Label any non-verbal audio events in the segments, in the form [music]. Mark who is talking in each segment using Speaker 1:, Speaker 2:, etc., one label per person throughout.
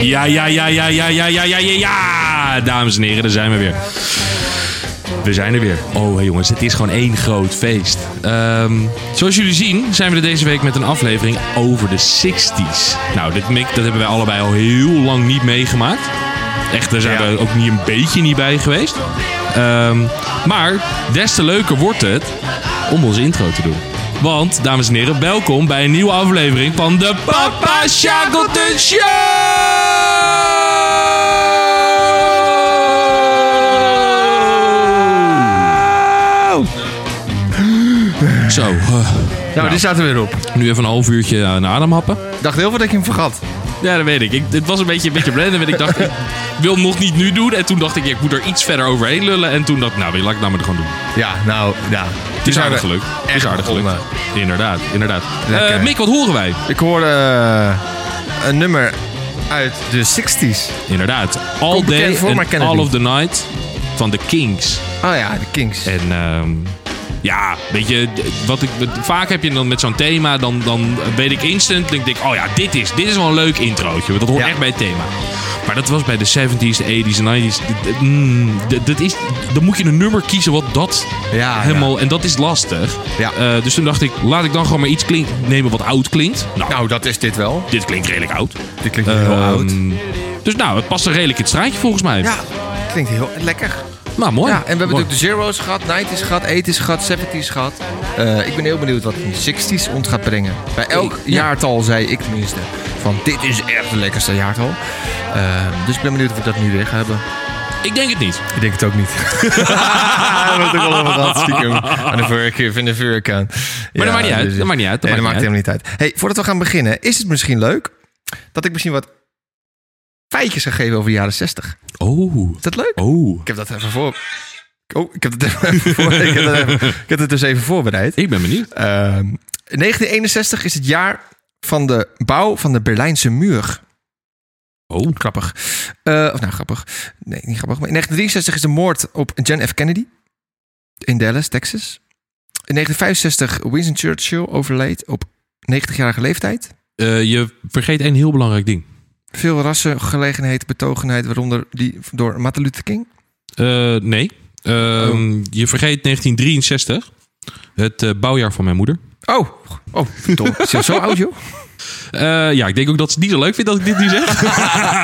Speaker 1: Ja, ja, ja, ja, ja, ja, ja, ja, ja, ja. Dames en heren, daar zijn we weer. We zijn er weer. Oh, hey jongens, het is gewoon één groot feest. Ehm, zoals jullie zien zijn we er deze week met een aflevering over de 60s. Nou, dit, Mick, dat hebben wij allebei al heel lang niet meegemaakt. Echt, daar zijn
Speaker 2: Ja.
Speaker 1: we ook niet een beetje niet bij geweest. Ehm, maar des te leuker wordt het om onze intro te doen. Want, dames en heren, welkom bij een nieuwe aflevering van de Papa Shackleton Show! Zo, eh,
Speaker 2: Nou, dit staat er weer op.
Speaker 1: nu even een half uurtje aan ademhappen.
Speaker 2: Ik dacht heel veel dat ik hem vergat.
Speaker 1: Ja, dat weet ik. ik het was een beetje, een beetje blenden. En ik dacht, ik wil hem nog niet nu doen. En toen dacht ik, ja, ik moet er iets verder overheen lullen. En toen dacht ik, nou, weet je, laat ik het nou maar gewoon doen.
Speaker 2: Ja, nou, ja.
Speaker 1: Het is aardig gelukt. Het is
Speaker 2: echt
Speaker 1: aardig gelukt.
Speaker 2: begonnen.
Speaker 1: Inderdaad, inderdaad.
Speaker 2: Lekker.
Speaker 1: Eh, Mick, wat horen wij?
Speaker 2: Ik hoorde eh, een nummer uit de 60s.
Speaker 1: Inderdaad. All
Speaker 2: Komt bekend
Speaker 1: Day
Speaker 2: voor, maar
Speaker 1: and
Speaker 2: ken het
Speaker 1: All
Speaker 2: niet.
Speaker 1: of the Night van The Kings.
Speaker 2: Oh ja, de Kings.
Speaker 1: En ehm, ja, weet je, d- wat ik, wat- vaak heb je dan met zo'n thema, dan, dan weet ik instant, denk ik, oh ja, dit is, dit is wel een leuk introotje. want Dat hoort
Speaker 2: Ja.
Speaker 1: echt bij het thema. Maar dat was bij de 70s, de 80s, de 90s. d- d- mm, d- Dat is, dan moet je een nummer kiezen wat dat
Speaker 2: Ja,
Speaker 1: helemaal... En dat is lastig.
Speaker 2: Ja.
Speaker 1: Eh, dus toen dacht ik, laat ik dan gewoon maar iets klink, nemen wat oud klinkt. Nou,
Speaker 2: Nou, dat is dit wel.
Speaker 1: dit klinkt redelijk oud.
Speaker 2: Dit klinkt heel
Speaker 1: Ehm,
Speaker 2: oud.
Speaker 1: Dus nou, het past er redelijk in het straatje volgens mij.
Speaker 2: Ja, klinkt heel lekker.
Speaker 1: Nou, mooi.
Speaker 2: Ja, en we hebben
Speaker 1: Mooi.
Speaker 2: natuurlijk de zeros gehad, 90s gehad, 80s gehad, 70s gehad. Eh, ik ben heel benieuwd wat de 60s ons gaat brengen. Bij elk
Speaker 1: Ja.
Speaker 2: jaartal zei ik tenminste van dit is echt het lekkerste jaartal. Eh, dus ik ben benieuwd of ik dat nu weer ga hebben.
Speaker 1: Ik denk het niet.
Speaker 2: Ik denk het ook
Speaker 1: [laughs]
Speaker 2: niet. [laughs] We hebben het ook al over gehad, stiekem. Aan de vuurkeur, van de vuurkeur.
Speaker 1: Maar dat maakt niet uit, dat maakt niet uit, dat
Speaker 2: dus- nee, dat
Speaker 1: maakt
Speaker 2: maakt
Speaker 1: niet
Speaker 2: helemaal niet uit. Hey, voordat we gaan beginnen, is het misschien leuk dat ik misschien wat feitjes ga geven over de jaren 60?
Speaker 1: Oh.
Speaker 2: Is dat leuk?
Speaker 1: Oh.
Speaker 2: Ik heb dat even voor... Oh, ik heb dat even, [laughs] voor... ik heb dat even... Ik heb het dus even voorbereid.
Speaker 1: Ik ben benieuwd.
Speaker 2: Ehm, 1961 is het jaar van de bouw van de Berlijnse muur.
Speaker 1: Oh.
Speaker 2: Grappig. Eh, of nou, grappig. Nee, niet grappig. Maar in 1963 is de moord op John F. Kennedy in Dallas, Texas. In 1965 Winston Churchill overleed op 90-jarige leeftijd.
Speaker 1: Eh, je vergeet één heel belangrijk ding.
Speaker 2: Veel rassen, gelegenheid, betogenheid, waaronder die door Martin Luther King.
Speaker 1: Eh, nee. Ehm, Je vergeet 1963. Het eh, bouwjaar van mijn moeder.
Speaker 2: Oh, oh, verdomme. Is dat zo oud, joh?
Speaker 1: Eh, ja, ik denk ook dat ze het niet zo leuk vindt dat ik dit nu [laughs] zeg.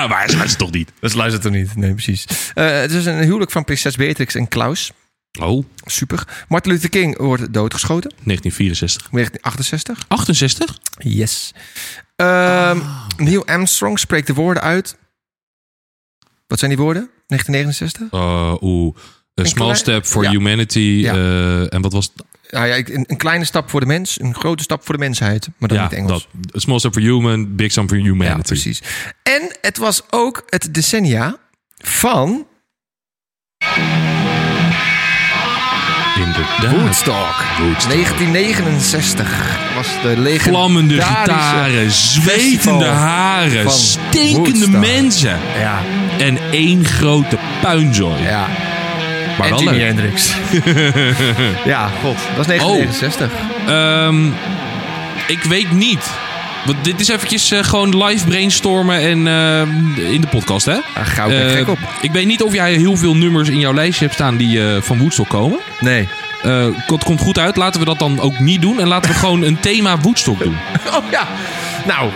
Speaker 1: maar ze gaat ze toch niet.
Speaker 2: [laughs] Dat luistert er niet. Nee, precies. Eh, het is een huwelijk van prinses Beatrix en Klaus.
Speaker 1: Oh,
Speaker 2: Super. Martin Luther King wordt doodgeschoten
Speaker 1: 1964.
Speaker 2: in 1968.
Speaker 1: 68?
Speaker 2: Yes. Ehm,
Speaker 1: Ah.
Speaker 2: Neil Armstrong spreekt de woorden uit. Wat zijn die woorden? 1969?
Speaker 1: Eh, Oeh. A small
Speaker 2: klein-
Speaker 1: step for
Speaker 2: Ja.
Speaker 1: humanity.
Speaker 2: Ja.
Speaker 1: eh, en wat was het?
Speaker 2: Nou ja, ik- een, een kleine stap voor de mens, een grote stap voor de mensheid. Maar dan in
Speaker 1: Ja,
Speaker 2: het Engels.
Speaker 1: dat. A small step for human, big step for humanity.
Speaker 2: ja, precies. En het was ook het decennia van
Speaker 1: Inderdaad.
Speaker 2: Woodstock.
Speaker 1: Woodstock.
Speaker 2: 1969 was de legendarische...
Speaker 1: Vlammende gitaren,
Speaker 2: festival
Speaker 1: zwetende haren,
Speaker 2: van
Speaker 1: stinkende
Speaker 2: Woodstock.
Speaker 1: mensen.
Speaker 2: Ja,
Speaker 1: En één grote puinzooi.
Speaker 2: ja.
Speaker 1: maar wel leuk. Oh.
Speaker 2: Hendrix. [laughs] ja, god. Dat is 1969.
Speaker 1: Ehm, ik weet niet. Want dit is eventjes eh, gewoon live brainstormen en ehm, in de podcast, hè?
Speaker 2: Ah, gauw, ik ben
Speaker 1: Eh,
Speaker 2: gek op.
Speaker 1: Ik weet niet of jij heel veel nummers in jouw lijstje hebt staan die eh, van Woodstock komen. [laughs]
Speaker 2: Nee.
Speaker 1: Eh, dat komt goed uit. Laten we dat dan ook niet doen. En laten we gewoon een thema Woodstock doen.
Speaker 2: Oh ja. Nou,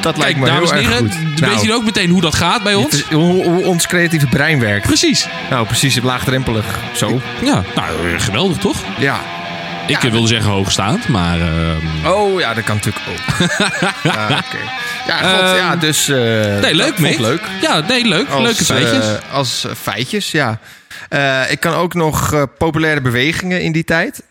Speaker 2: dat lijkt
Speaker 1: Kijk,
Speaker 2: me
Speaker 1: dames
Speaker 2: heel
Speaker 1: en
Speaker 2: erg
Speaker 1: heren,
Speaker 2: goed. Nou,
Speaker 1: weet je ook meteen hoe dat gaat bij
Speaker 2: het
Speaker 1: ons?
Speaker 2: is hoe, hoe ons creatieve brein werkt.
Speaker 1: Precies.
Speaker 2: Nou, precies, laagdrempelig. Zo.
Speaker 1: Ja, nou, eh, geweldig toch?
Speaker 2: Ja.
Speaker 1: Ik eh, wilde zeggen hoogstaand, maar... ehm,
Speaker 2: Oh ja, dat kan natuurlijk ook.
Speaker 1: [laughs]
Speaker 2: ja, oké. ja, god, ja, dus... eh,
Speaker 1: Ehm, Nee,
Speaker 2: dat
Speaker 1: leuk,
Speaker 2: vond ik
Speaker 1: Mick.
Speaker 2: leuk.
Speaker 1: Ja, nee, leuk.
Speaker 2: Als,
Speaker 1: Leuke feitjes.
Speaker 2: eh, als eh, feitjes, ja. Eh, ik kan ook nog eh, populaire bewegingen in die tijd.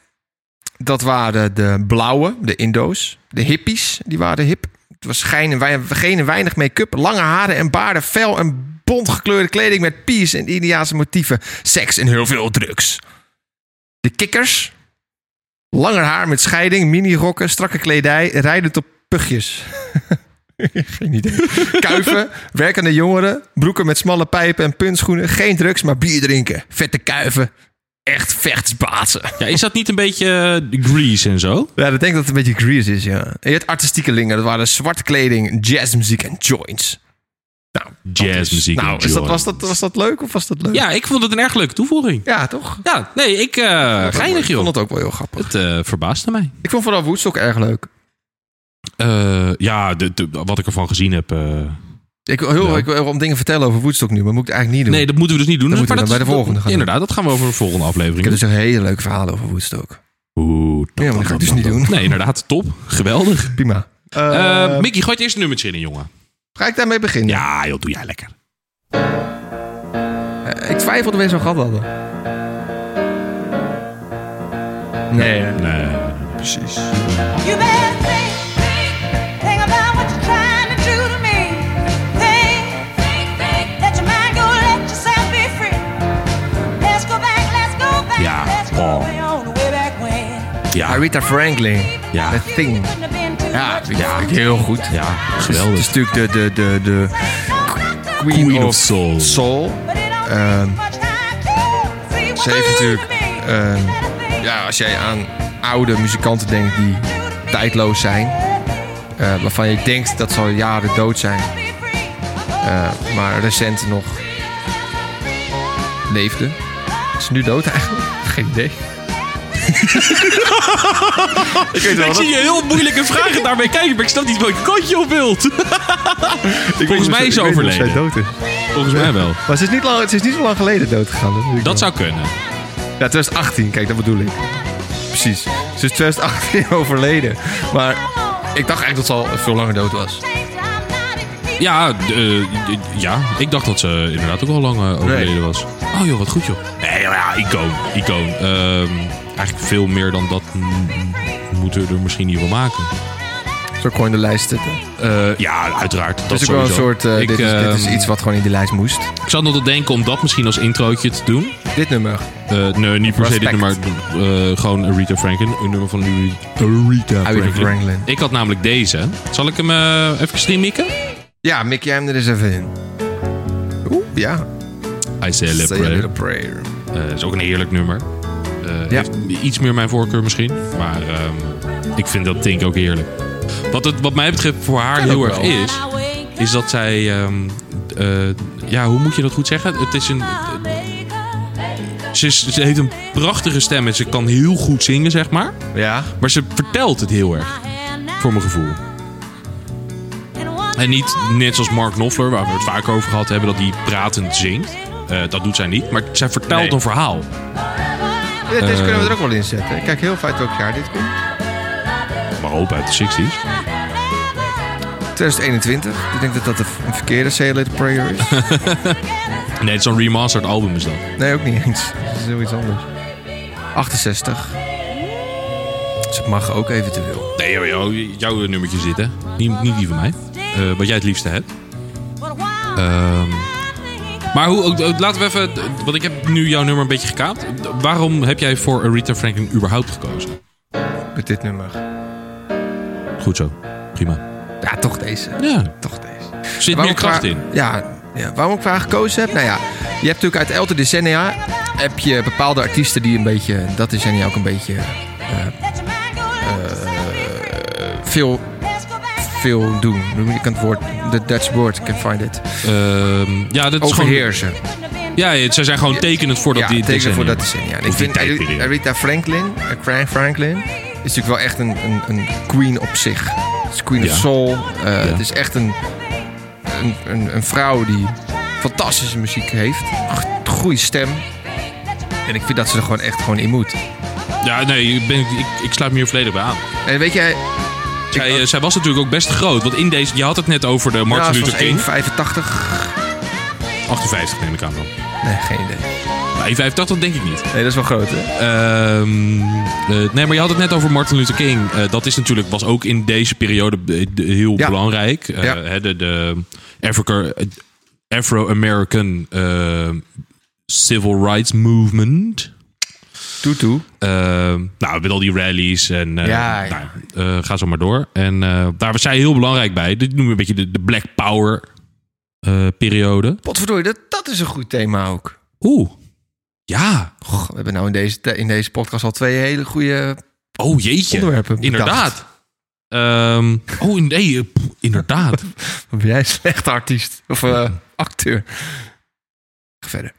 Speaker 2: Dat waren de blauwe, de Indo's. De hippies, die waren hip. Het was schijn en wei- geen en weinig make-up. Lange haren en baarden. Fel en bont gekleurde kleding met pies en Indiaanse motieven. Seks en heel veel drugs. De kikkers. Langer haar met scheiding, minirokken, strakke kledij, rijdend op pugjes. [laughs] Geen idee. [laughs] Kuiven, werkende jongeren, broeken met smalle pijpen en puntschoenen. Geen drugs, maar bier drinken. Vette kuiven. Echt vechtsbazen.
Speaker 1: Ja, is dat niet een beetje eh, Grease en zo?
Speaker 2: Ja, dat denk ik dat het een beetje grease is, ja. En je had artistiekelingen. Dat waren zwarte kleding, jazzmuziek en joints. Nou, dat is-
Speaker 1: Jazzmuziek.
Speaker 2: Nou, is dat, was, dat, was dat leuk of was dat leuk?
Speaker 1: Ja, ik vond het een erg leuke toevoeging.
Speaker 2: Ja, toch?
Speaker 1: Ja, nee, ik... eh geinig,
Speaker 2: Ik
Speaker 1: joh.
Speaker 2: vond het ook wel heel grappig.
Speaker 1: Het eh, verbaasde mij.
Speaker 2: Ik vond vooral Woodstock erg leuk.
Speaker 1: Eh, ja, de, de- wat ik ervan gezien heb. eh.
Speaker 2: Ik wil heel
Speaker 1: Ja.
Speaker 2: ik wil om dingen vertellen over Woodstock nu, maar moet ik het eigenlijk niet doen.
Speaker 1: Nee, dat moeten we dus niet doen.
Speaker 2: Dat
Speaker 1: Dus-
Speaker 2: moeten we
Speaker 1: maar
Speaker 2: dan bij de
Speaker 1: is-
Speaker 2: volgende gaan doen.
Speaker 1: Inderdaad, dat gaan we over de volgende
Speaker 2: ik
Speaker 1: aflevering
Speaker 2: heb
Speaker 1: doen.
Speaker 2: dus een hele leuke verhalen over Woodstock.
Speaker 1: Oeh,
Speaker 2: Ja, maar dat ga ik dus niet doen.
Speaker 1: Nee, inderdaad. Top. Geweldig.
Speaker 2: Prima.
Speaker 1: Eh,
Speaker 2: Eh,
Speaker 1: Mickey, gooi het eerste nummertje in, jongen.
Speaker 2: ga ik daarmee beginnen?
Speaker 1: Ja, joh, doe jij lekker.
Speaker 2: Eh, ik twijfelde weer zo'n gat hadden. Nee.
Speaker 1: Nee.
Speaker 2: Precies.
Speaker 3: You better think, think, think about what you're trying to do to me. Think, think, think. Let your mind go, let yourself be free. Let's go back, let's go back,
Speaker 1: Ja,
Speaker 3: let's go
Speaker 1: Paul.
Speaker 3: way on the way back when.
Speaker 1: Ja,
Speaker 2: Aretha Franklin.
Speaker 1: Ja.
Speaker 2: The Thing. Ja, ja, heel goed.
Speaker 1: ja
Speaker 2: Het
Speaker 1: geweldig.
Speaker 2: is natuurlijk de, de, de, de Queen,
Speaker 1: Queen of Soul.
Speaker 2: Soul. Ehm, ze heeft natuurlijk, ehm, Ja, als jij aan oude muzikanten denkt die tijdloos zijn, eh, waarvan je denkt dat ze al jaren dood zijn, eh, maar recent nog leefden. Is ze nu dood eigenlijk? [laughs] Geen idee. ik weet
Speaker 1: Ik zie je heel moeilijke [laughs] vragen daarmee kijken, maar ik snap niet welk kantje op wilt. Volgens mij is ze overleden.
Speaker 2: dood is.
Speaker 1: Volgens mij wel.
Speaker 2: Maar ze is niet, lang, ze is niet zo lang geleden dood gegaan. Dat,
Speaker 1: Dat zou kunnen.
Speaker 2: Ja, 2018, kijk, dat bedoel ik. Precies. Ze is 2018 [laughs] overleden. Maar ik dacht eigenlijk dat ze al veel langer dood was.
Speaker 1: Ja, eh, eh, ja, ik dacht dat ze inderdaad ook al lang eh, overleden
Speaker 2: Nee.
Speaker 1: was. Oh joh, wat goed joh. Nee, joh, ja, icoon. Icoon. Ehm, eigenlijk veel meer dan dat m- m- moeten we er misschien niet van maken.
Speaker 2: Zo gewoon in de lijst zitten.
Speaker 1: Eh, ja, uiteraard. Dat
Speaker 2: Dus ik wel
Speaker 1: sowieso.
Speaker 2: een soort. eh,
Speaker 1: Ik,
Speaker 2: dit, is, dit is
Speaker 1: ehm,
Speaker 2: iets wat gewoon in die lijst moest.
Speaker 1: Ik zat nog te denken om dat misschien als introotje te doen.
Speaker 2: Dit nummer.
Speaker 1: Eh, nee, niet per se dit nummer.
Speaker 2: Respect.
Speaker 1: eh, gewoon Aretha Franklin. Een nummer van Aretha
Speaker 2: Aretha
Speaker 1: Franklin.
Speaker 2: Franklin.
Speaker 1: Ik had namelijk deze. Zal ik hem eh, even streamikken?
Speaker 2: Ja, Mick, jij hem er eens even in. Oeh, ja.
Speaker 1: I Say a Little
Speaker 2: Say a
Speaker 1: Prayer.
Speaker 2: little prayer.
Speaker 1: Eh, is ook een heerlijk nummer. Eh,
Speaker 2: Ja.
Speaker 1: heeft Iets meer mijn voorkeur misschien. Maar ehm, ik vind dat Tink ook heerlijk. Wat, het, wat mij betreft voor haar heel
Speaker 2: ook
Speaker 1: erg
Speaker 2: wel.
Speaker 1: is... is dat zij... ehm, eh, ja, hoe moet je dat goed zeggen? Het is een, ze, is- ze heeft een prachtige stem en ze kan heel goed zingen, zeg maar.
Speaker 2: Ja.
Speaker 1: Maar ze vertelt het heel erg, voor mijn gevoel. En niet net zoals Mark Knopfler, waar we het vaak over gehad hebben... dat hij pratend zingt. Eh, dat doet zij niet. Maar zij vertelt
Speaker 2: Nee.
Speaker 1: een verhaal.
Speaker 2: Ja,
Speaker 1: Eh.
Speaker 2: deze kunnen we er ook wel in zetten. Ik Kijk, heel fijn welk jaar dit komt.
Speaker 1: Maar ook uit de [laughs] 60s.
Speaker 2: 2021. Ik denk dat dat een verkeerde Say a little prayer is.
Speaker 1: Nee, het is een remastered album is dat.
Speaker 2: Nee, ook niet eens. Dat is heel iets anders. 68. Ze Dus mag ook eventueel.
Speaker 1: Nee, joh, joh, jouw nummertje zit hè. Niet, niet die van mij. Eh, wat jij het liefste hebt. Ehm, maar hoe, ook- ook- laten we even... Want ik heb nu jouw nummer een beetje gekaapt. Waarom heb jij voor Aretha Franklin überhaupt gekozen?
Speaker 2: Met dit nummer.
Speaker 1: Goed zo. Prima.
Speaker 2: Ja, toch deze.
Speaker 1: Ja.
Speaker 2: Toch deze.
Speaker 1: Zit meer kracht in.
Speaker 2: Ja, ja, waarom ik voor haar gekozen heb? Nou ja, je hebt natuurlijk uit elke decennia... heb je bepaalde artiesten die een beetje... dat decennia ook een beetje...
Speaker 1: Eh,
Speaker 2: veel, veel doen. Ik kan het woord... de Dutch woord, ik can find it.
Speaker 1: Ehm, ja, dat is gewoon...
Speaker 2: Overheersen.
Speaker 1: Ja, ja, zij zijn gewoon tekenend voor dat
Speaker 2: Ja,
Speaker 1: die
Speaker 2: teken voor
Speaker 1: decennium.
Speaker 2: dat decennia. En
Speaker 1: Of
Speaker 2: Ik
Speaker 1: die
Speaker 2: vind Ari-
Speaker 1: tijdperiode.
Speaker 2: Aretha Franklin, eh, Fran- Franklin, is natuurlijk wel echt een, een, een queen op zich. Het is queen
Speaker 1: Ja.
Speaker 2: of soul. Eh, Het is echt een, een, een, een vrouw die fantastische muziek heeft. G- Goede stem. En ik vind dat ze er gewoon echt gewoon in moet.
Speaker 1: Ja, nee, ik, ben, ik, ik sluit me hier volledig bij aan.
Speaker 2: En weet jij...
Speaker 1: Zij, eh, zij was natuurlijk ook best groot. Want in deze... Je had het net over de
Speaker 2: Ja,
Speaker 1: Martin
Speaker 2: ze was
Speaker 1: Luther King.
Speaker 2: 1,85.
Speaker 1: 58 neem ik aan dan.
Speaker 2: Nee, geen idee.
Speaker 1: Maar 1,85 denk ik niet.
Speaker 2: Nee, dat is wel groot, hè?
Speaker 1: Ehm, eh, nee, maar je had het net over Martin Luther King. Eh, dat is natuurlijk, was ook in deze periode eh, de- heel
Speaker 2: Ja.
Speaker 1: belangrijk. Eh,
Speaker 2: Ja.
Speaker 1: hè, de de Africa- Afro-American eh, Civil Rights Movement.
Speaker 2: Tutu.
Speaker 1: Ehm, nou, met al die rallies en eh,
Speaker 2: Ja, ja.
Speaker 1: nou ja, eh, ga zo maar door. En eh, daar was zij heel belangrijk bij. Dit noemen we een beetje de, de Black Power eh, periode.
Speaker 2: Potverdorie, dat, dat is een goed thema ook.
Speaker 1: Oeh, ja.
Speaker 2: Goh, we hebben nou in deze, in deze podcast al twee hele goede
Speaker 1: Oh jeetje.
Speaker 2: onderwerpen bedacht.
Speaker 1: Inderdaad. Ehm, oh, nee, eh, pff, [laughs] inderdaad.
Speaker 2: Ben jij een slechte artiest?
Speaker 1: [laughs]
Speaker 2: Of eh, acteur? Ga Verder. [laughs]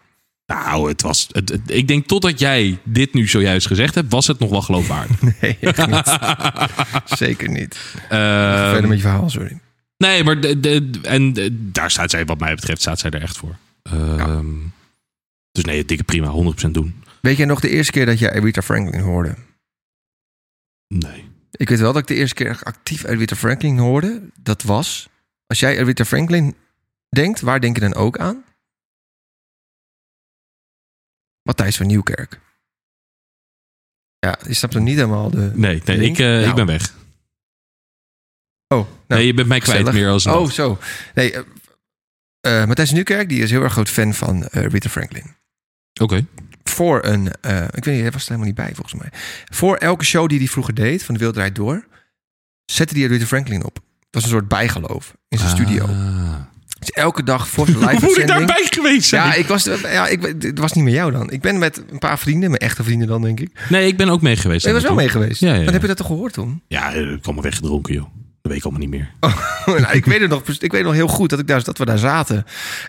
Speaker 1: Nou, het was. Het, het- ik denk totdat jij dit nu zojuist gezegd hebt, was het nog wel geloofwaardig. [laughs]
Speaker 2: Nee, echt niet. Zeker niet.
Speaker 1: Ehm,
Speaker 2: Verder met je verhaal, sorry.
Speaker 1: nee, maar de, de- en de- daar staat zij, wat mij betreft, staat zij er echt voor. Ehm, Dus nee, dikke prima, 100% doen.
Speaker 2: Weet jij nog de eerste keer dat je Aretha Franklin hoorde?
Speaker 1: Nee.
Speaker 2: Ik weet wel dat ik de eerste keer echt actief Aretha Franklin hoorde. Dat was... Als jij Aretha Franklin denkt, waar denk je dan ook aan? Matthijs van Nieuwkerk. Ja, je snapt hem niet helemaal de...
Speaker 1: Nee, nee ik, eh,
Speaker 2: Nou.
Speaker 1: ik ben weg.
Speaker 2: Oh, nou,
Speaker 1: nee, je bent mij kwijt
Speaker 2: gezellig.
Speaker 1: meer als een.
Speaker 2: Oh, zo. Nee, eh, eh, Matthijs Nieuwkerk die is heel erg groot fan van eh Rita Franklin.
Speaker 1: Oké.
Speaker 2: Voor een, eh, ik weet niet, hij was er helemaal niet bij volgens mij. Voor elke show die hij vroeger deed, van de Wereld Draait Door, zette hij Rita Franklin op. Dat was een soort bijgeloof in zijn studio.
Speaker 1: Ah.
Speaker 2: Dus elke dag
Speaker 1: [laughs]
Speaker 2: voor zijn live
Speaker 1: Hoe moet ik
Speaker 2: uitzending-
Speaker 1: daarbij geweest zijn?
Speaker 2: Ja, ik was, ja ik, het was niet met jou dan. Ik ben met een paar vrienden, mijn echte vrienden dan, denk ik.
Speaker 1: Nee, ik ben ook mee geweest.
Speaker 2: Je was wel mee geweest.
Speaker 1: Ja, ja, ja.
Speaker 2: Wat heb je dat toch gehoord, Tom?
Speaker 1: Ja, eh, ik kwam me weggedronken, joh. Dat weet ik allemaal niet meer.
Speaker 2: [laughs] nou, ik, weet het nog, ik weet nog heel goed dat, ik daar, dat we daar zaten.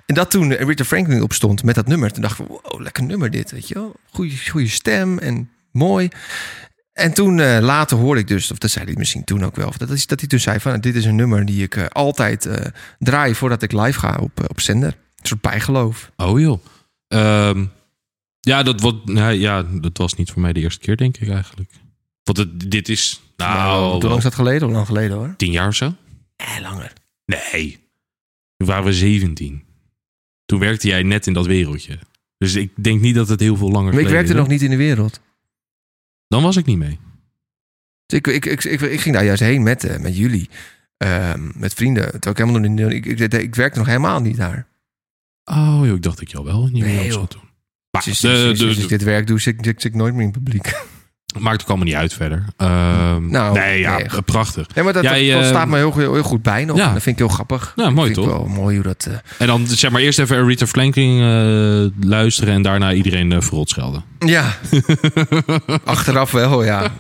Speaker 2: En dat toen eh, Rita Franklin opstond met dat nummer. Toen dachten we, wow, lekker nummer dit, weet je wel. Goeie, goeie stem en mooi. En toen eh, later hoorde ik dus, of dat zei hij misschien toen ook wel... Of dat, is, dat hij toen zei van, nou, dit is een nummer die ik eh, altijd eh, draai voordat ik live ga op, eh, op zender. Een soort bijgeloof.
Speaker 1: Oh joh. Ehm, ja, dat, wat, nou, ja, dat was niet voor mij de eerste keer, denk ik eigenlijk. Want het, dit is, nou,
Speaker 2: hoe
Speaker 1: wel
Speaker 2: lang is dat geleden? Hoe lang geleden hoor?
Speaker 1: tien jaar of zo?
Speaker 2: Eh, langer.
Speaker 1: Nee. Toen waren we 17. Toen werkte jij net in dat wereldje. Dus ik denk niet dat het heel veel langer
Speaker 2: Maar ik
Speaker 1: geleden
Speaker 2: werkte
Speaker 1: is,
Speaker 2: nog
Speaker 1: hoor.
Speaker 2: niet in de wereld.
Speaker 1: Dan was ik niet mee.
Speaker 2: Dus ik, ik, ik, ik, ik ging daar juist heen met, eh, met jullie. Ehm, met vrienden. Terwijl ik helemaal nog niet... Ik, ik, ik werkte nog helemaal niet daar.
Speaker 1: Oh joh, ik dacht dat ik jou wel in die
Speaker 2: Nee,
Speaker 1: wereld
Speaker 2: joh.
Speaker 1: zat toen. Maar eh,
Speaker 2: Sinds,
Speaker 1: Ah, de-
Speaker 2: sinds-
Speaker 1: de-
Speaker 2: sinds- sinds
Speaker 1: de-
Speaker 2: ik dus, dit werk doe, zit, zit, zit ik nooit meer in het publiek. [laughs]
Speaker 1: maakt ook allemaal niet uit verder. Ehm,
Speaker 2: Nou,
Speaker 1: nee, ja,
Speaker 2: nee, goed.
Speaker 1: prachtig.
Speaker 2: Nee, maar dat,
Speaker 1: Jij,
Speaker 2: dat
Speaker 1: eh,
Speaker 2: staat me heel, heel, heel goed bij nog.
Speaker 1: Ja.
Speaker 2: Dat vind ik heel grappig.
Speaker 1: Ja, Nou, mooi
Speaker 2: vind
Speaker 1: toch?
Speaker 2: Ik wel mooi hoe dat... eh,
Speaker 1: En dan zeg maar eerst even Rita Franklin eh, luisteren en daarna iedereen eh, verrot schelden. [laughs]
Speaker 2: ja. Achteraf wel, ja.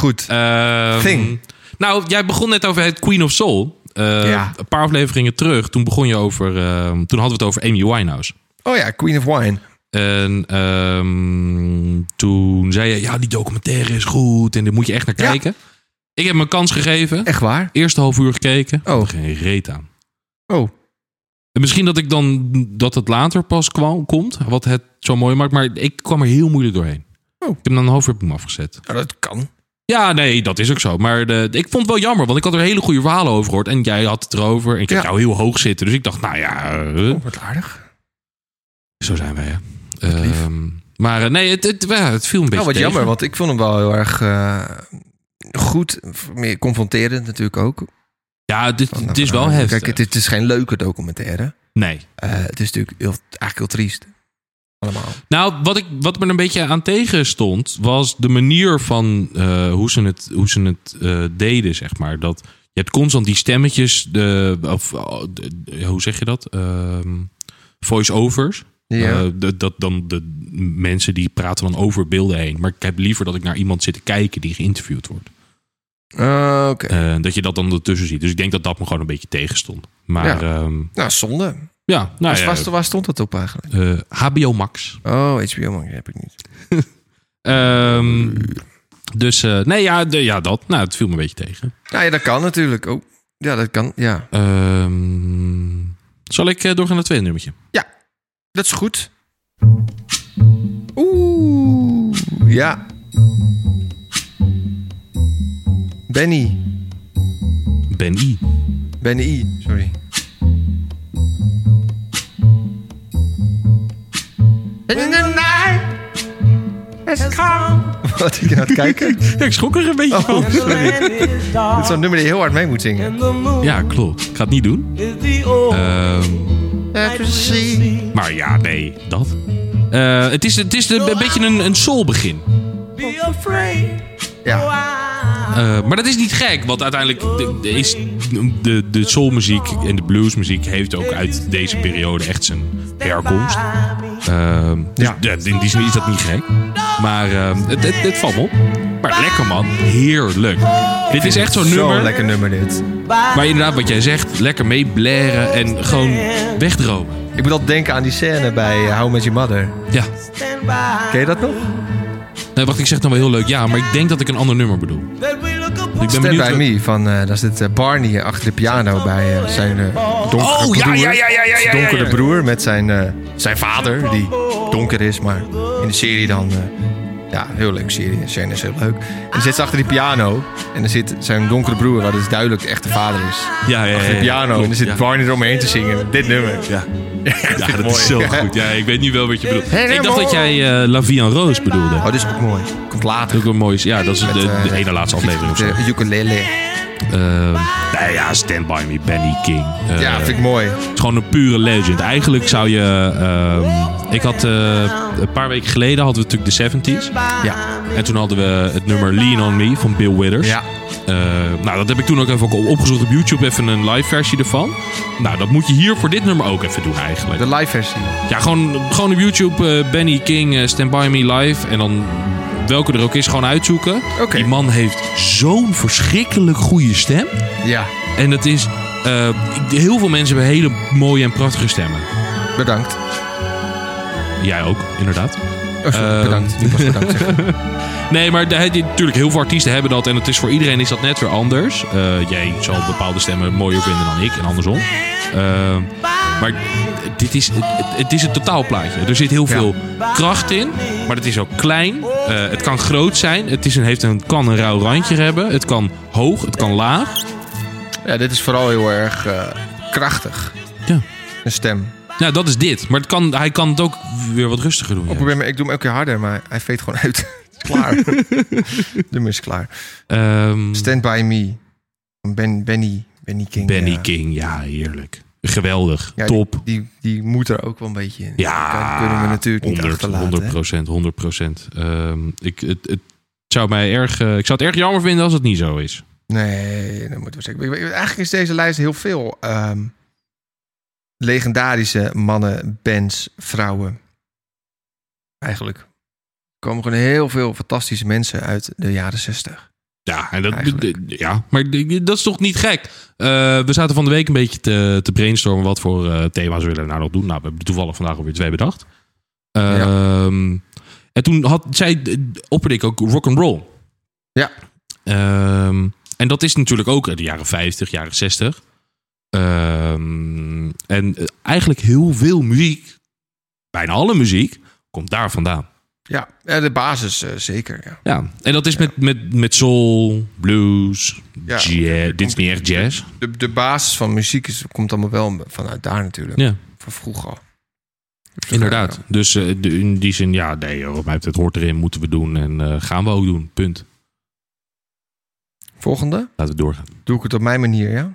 Speaker 2: Goed.
Speaker 1: Ehm,
Speaker 2: Thing.
Speaker 1: Nou, jij begon net over het Queen of Soul. Eh,
Speaker 2: Ja.
Speaker 1: Een paar afleveringen terug, toen begon je over. ehm, toen hadden we het over Amy Winehouse.
Speaker 2: Oh ja, Queen of Wine.
Speaker 1: En ehm, toen zei je, ja, die documentaire is goed en daar moet je echt naar
Speaker 2: Ja.
Speaker 1: kijken. Ik heb me een kans gegeven.
Speaker 2: Echt waar?
Speaker 1: Eerste half uur gekeken.
Speaker 2: Oh.
Speaker 1: Had Geen reet aan.
Speaker 2: Oh,
Speaker 1: En misschien dat ik dan dat het later pas kwam, komt, wat het zo mooi maakt. Maar ik kwam er heel moeilijk doorheen.
Speaker 2: Oh.
Speaker 1: Ik heb hem dan een half uur op hem afgezet.
Speaker 2: nou, dat kan.
Speaker 1: Ja, nee, dat is ook zo. Maar de, ik vond het wel jammer, want ik had er hele goede verhalen over gehoord. En jij had het erover. En ik heb
Speaker 2: Ja.
Speaker 1: jou heel hoog zitten. Dus ik dacht, nou ja, eh,
Speaker 2: Oh, wat aardig.
Speaker 1: zo zijn wij. Hè. Ehm, maar eh, nee, het, het, ja, het viel een beetje
Speaker 2: Nou, wat
Speaker 1: tegen.
Speaker 2: jammer, want ik vond hem wel heel erg eh, goed. Meer confronterend natuurlijk ook.
Speaker 1: Ja, dit,
Speaker 2: Van,
Speaker 1: dit is
Speaker 2: nou,
Speaker 1: wel
Speaker 2: kijk,
Speaker 1: heftig.
Speaker 2: het, is- het is geen leuke documentaire.
Speaker 1: Nee.
Speaker 2: Eh, het is natuurlijk heel, eigenlijk heel triest. Allemaal.
Speaker 1: Nou, wat, ik, wat me er een beetje aan tegen stond, was de manier van eh, hoe ze het, hoe ze het eh, deden, zeg maar. Dat, je hebt constant die stemmetjes, de, of, oh, de- de- hoe zeg je dat? Ehm, voice-overs.
Speaker 2: Ja.
Speaker 1: Eh, de- dat dan de mensen die praten dan over beelden heen. Maar ik heb liever dat ik naar iemand zit te kijken die geïnterviewd wordt.
Speaker 2: Eh, Oké.
Speaker 1: Eh, dat je dat dan ertussen ziet. Dus ik denk dat dat me gewoon een beetje tegenstond. Maar
Speaker 2: Ja.
Speaker 1: ja,
Speaker 2: Nou, zonde.
Speaker 1: ja nou
Speaker 2: Dus
Speaker 1: ja,
Speaker 2: waar st- waar stond dat op eigenlijk?
Speaker 1: eh, HBO Max.
Speaker 2: Oh, HBO Max heb ik niet.
Speaker 1: Ehm, dus eh, nee, ja, de- ja, dat. Nou, het viel me een beetje tegen.
Speaker 2: Nou ja, dat kan natuurlijk. Oh, ja, dat kan. Ja,
Speaker 1: Eh. Ehm, zal ik eh, doorgaan naar het tweede nummertje?
Speaker 2: dat is goed. Oeh, ja. Benny.
Speaker 1: Ben I.
Speaker 2: Benny I, sorry. [laughs] Eh, Wat ik aan het kijken?
Speaker 1: [laughs]
Speaker 2: Dit
Speaker 1: ik schrok er een beetje van.
Speaker 2: is zo'n nummer die je heel hard mee moet zingen.
Speaker 1: Ja, klopt. Ik ga het niet doen. Ehm, maar ja, nee, dat. Eh, het is, het is een, een beetje een, een soul begin.
Speaker 2: Ja.
Speaker 1: Eh, maar dat is niet gek, want uiteindelijk de- de- is de, de
Speaker 2: Eh,
Speaker 1: soulmuziek en de bluesmuziek heeft ook uit deze periode echt zijn herkomst. Ehm, dus
Speaker 2: Ja.
Speaker 1: ja. in die zin is dat niet gek. Maar ehm, het, het, het valt me op. Maar lekker man, heerlijk. Dit is echt zo'n nummer
Speaker 2: Zo'n lekker nummer dit.
Speaker 1: waar inderdaad wat jij zegt, lekker mee blaren en gewoon wegdromen.
Speaker 2: Ik moet altijd denken aan die scène bij eh, How Met Your Mother.
Speaker 1: Ja.
Speaker 2: Ken je dat nog?
Speaker 1: Nee, wacht, ik zeg dan wel heel leuk ja, maar ik denk dat ik een ander nummer bedoel. Ik ben
Speaker 2: Stand
Speaker 1: benieuwd.
Speaker 2: By
Speaker 1: wat-
Speaker 2: Me, van, eh, daar zit eh, Barney achter de piano bij eh, zijn eh, donkere
Speaker 1: Oh, ja,
Speaker 2: broer.
Speaker 1: ja, ja, ja, ja, ja,
Speaker 2: Zijn donkere
Speaker 1: ja.
Speaker 2: broer met zijn, eh, zijn vader, die donker is, maar in de serie dan... eh, ja, heel leuk serie. De scène is heel leuk. En dan zit ze achter die piano en dan zit zijn donkere broer, waar dus duidelijk de echte vader is.
Speaker 1: Ja, ja, ja, ja,
Speaker 2: Achter de
Speaker 1: ja,
Speaker 2: piano
Speaker 1: Eh, klopt,
Speaker 2: en dan zit
Speaker 1: ja.
Speaker 2: Barney eromheen te zingen. Dit nummer.
Speaker 1: Ja. Ja, dat
Speaker 2: mooi.
Speaker 1: is zo goed. Ja, ik weet nu wel wat je bedoelt.
Speaker 2: Hey,
Speaker 1: ik dacht dat jij eh, La Vie en Rose bedoelde.
Speaker 2: Oh, dit is ook mooi. Komt
Speaker 1: Dat
Speaker 2: later.
Speaker 1: is ook een mooie... Ja, dat is de,
Speaker 2: eh,
Speaker 1: de ene laatste aflevering of zo.
Speaker 2: De ukulele.
Speaker 1: Ehm, nou ja, Stand By Me, Benny King. Eh,
Speaker 2: Ja, vind ik mooi.
Speaker 1: Het is gewoon een pure legend. Eigenlijk zou je... ehm, ik had... eh, een paar weken geleden hadden we natuurlijk de 70s.
Speaker 2: Ja.
Speaker 1: En toen hadden we het nummer Lean On Me van Bill Withers.
Speaker 2: Ja.
Speaker 1: Eh, nou, dat heb ik toen ook even op- opgezocht op YouTube. Even een live versie ervan. Nou, dat moet je hier voor dit nummer ook even doen eigenlijk.
Speaker 2: De live versie.
Speaker 1: Ja, gewoon, gewoon op YouTube eh, Benny King eh, Stand By Me Live. En dan welke er ook is, gewoon uitzoeken.
Speaker 2: Oké.
Speaker 1: Die man heeft zo'n verschrikkelijk goede stem.
Speaker 2: Ja,
Speaker 1: En dat is... eh, heel veel mensen hebben hele mooie en prachtige stemmen.
Speaker 2: bedankt.
Speaker 1: Jij ook, inderdaad.
Speaker 2: Oh, sorry,
Speaker 1: Ehm.
Speaker 2: bedankt. Niet pas bedankt zeggen.
Speaker 1: Nee, maar de- die- natuurlijk, heel veel artiesten hebben dat. En het is voor iedereen is dat net weer anders. Eh, jij zal bepaalde stemmen mooier vinden dan ik en andersom. Ehm, maar dit is, het, het is een totaalplaatje. Er zit heel veel kracht in, maar het is ook klein. Eh, het kan groot zijn. Het is een, heeft een, kan een rauw randje hebben. Het kan hoog, het kan laag.
Speaker 2: [laughs] Ja, dit is vooral heel erg eh, krachtig.
Speaker 1: Ja.
Speaker 2: Een stem.
Speaker 1: Nou, dat is dit. Maar het kan, hij kan het ook weer wat rustiger doen. ja.
Speaker 2: Probeer me, ik doe hem elke keer harder, maar hij veet gewoon uit. [laughs] Het is klaar. Het nummer is klaar.
Speaker 1: Ehm,
Speaker 2: Stand By Me. Van ben, Benny. Benny King.
Speaker 1: Benny
Speaker 2: ja.
Speaker 1: King, ja, heerlijk. Geweldig,
Speaker 2: Ja,
Speaker 1: top.
Speaker 2: Die, die, die moet er ook wel een beetje in.
Speaker 1: Ja,
Speaker 2: Dat kunnen we natuurlijk niet
Speaker 1: 100,
Speaker 2: achterlaten.
Speaker 1: 100 procent, 100 procent. Ehm, ik, het, het zou mij erg, eh, ik zou het erg jammer vinden als het niet zo is.
Speaker 2: Nee, dat moeten we zeker. Ik weet- Eigenlijk is deze lijst heel veel ehm, legendarische mannen, bands, vrouwen. Eigenlijk Er komen gewoon heel veel fantastische mensen uit de jaren zestig.
Speaker 1: Ja, en dat,
Speaker 2: Eigenlijk.
Speaker 1: d- d- ja maar d- dat is toch niet gek? Eh, we zaten van de week een beetje te, te brainstormen wat voor eh, thema's willen we nou nog doen. Nou, we hebben toevallig vandaag alweer twee bedacht. Ehm, En toen had, zij, d- opperde ik ook rock'n'roll.
Speaker 2: Ja.
Speaker 1: Ehm, en dat is natuurlijk ook eh, de jaren 50, jaren 60. Ehm, en eh, eigenlijk heel veel muziek, bijna alle muziek, komt daar vandaan.
Speaker 2: Ja, ja, de basis eh, zeker. Ja.
Speaker 1: Ja, en dat is met, met, met soul, blues,
Speaker 2: Ja.
Speaker 1: jazz. Dit is niet echt jazz.
Speaker 2: De, de basis van muziek is, komt allemaal wel vanuit daar natuurlijk.
Speaker 1: Ja,
Speaker 2: Van vroeger al.
Speaker 1: inderdaad. Dus eh, de- in die zin, ja, nee, joh, wat mij betreft hoort erin, moeten we doen en eh, gaan we ook doen. Punt.
Speaker 2: Volgende.
Speaker 1: Laten we doorgaan.
Speaker 2: Doe ik het op mijn manier, ja?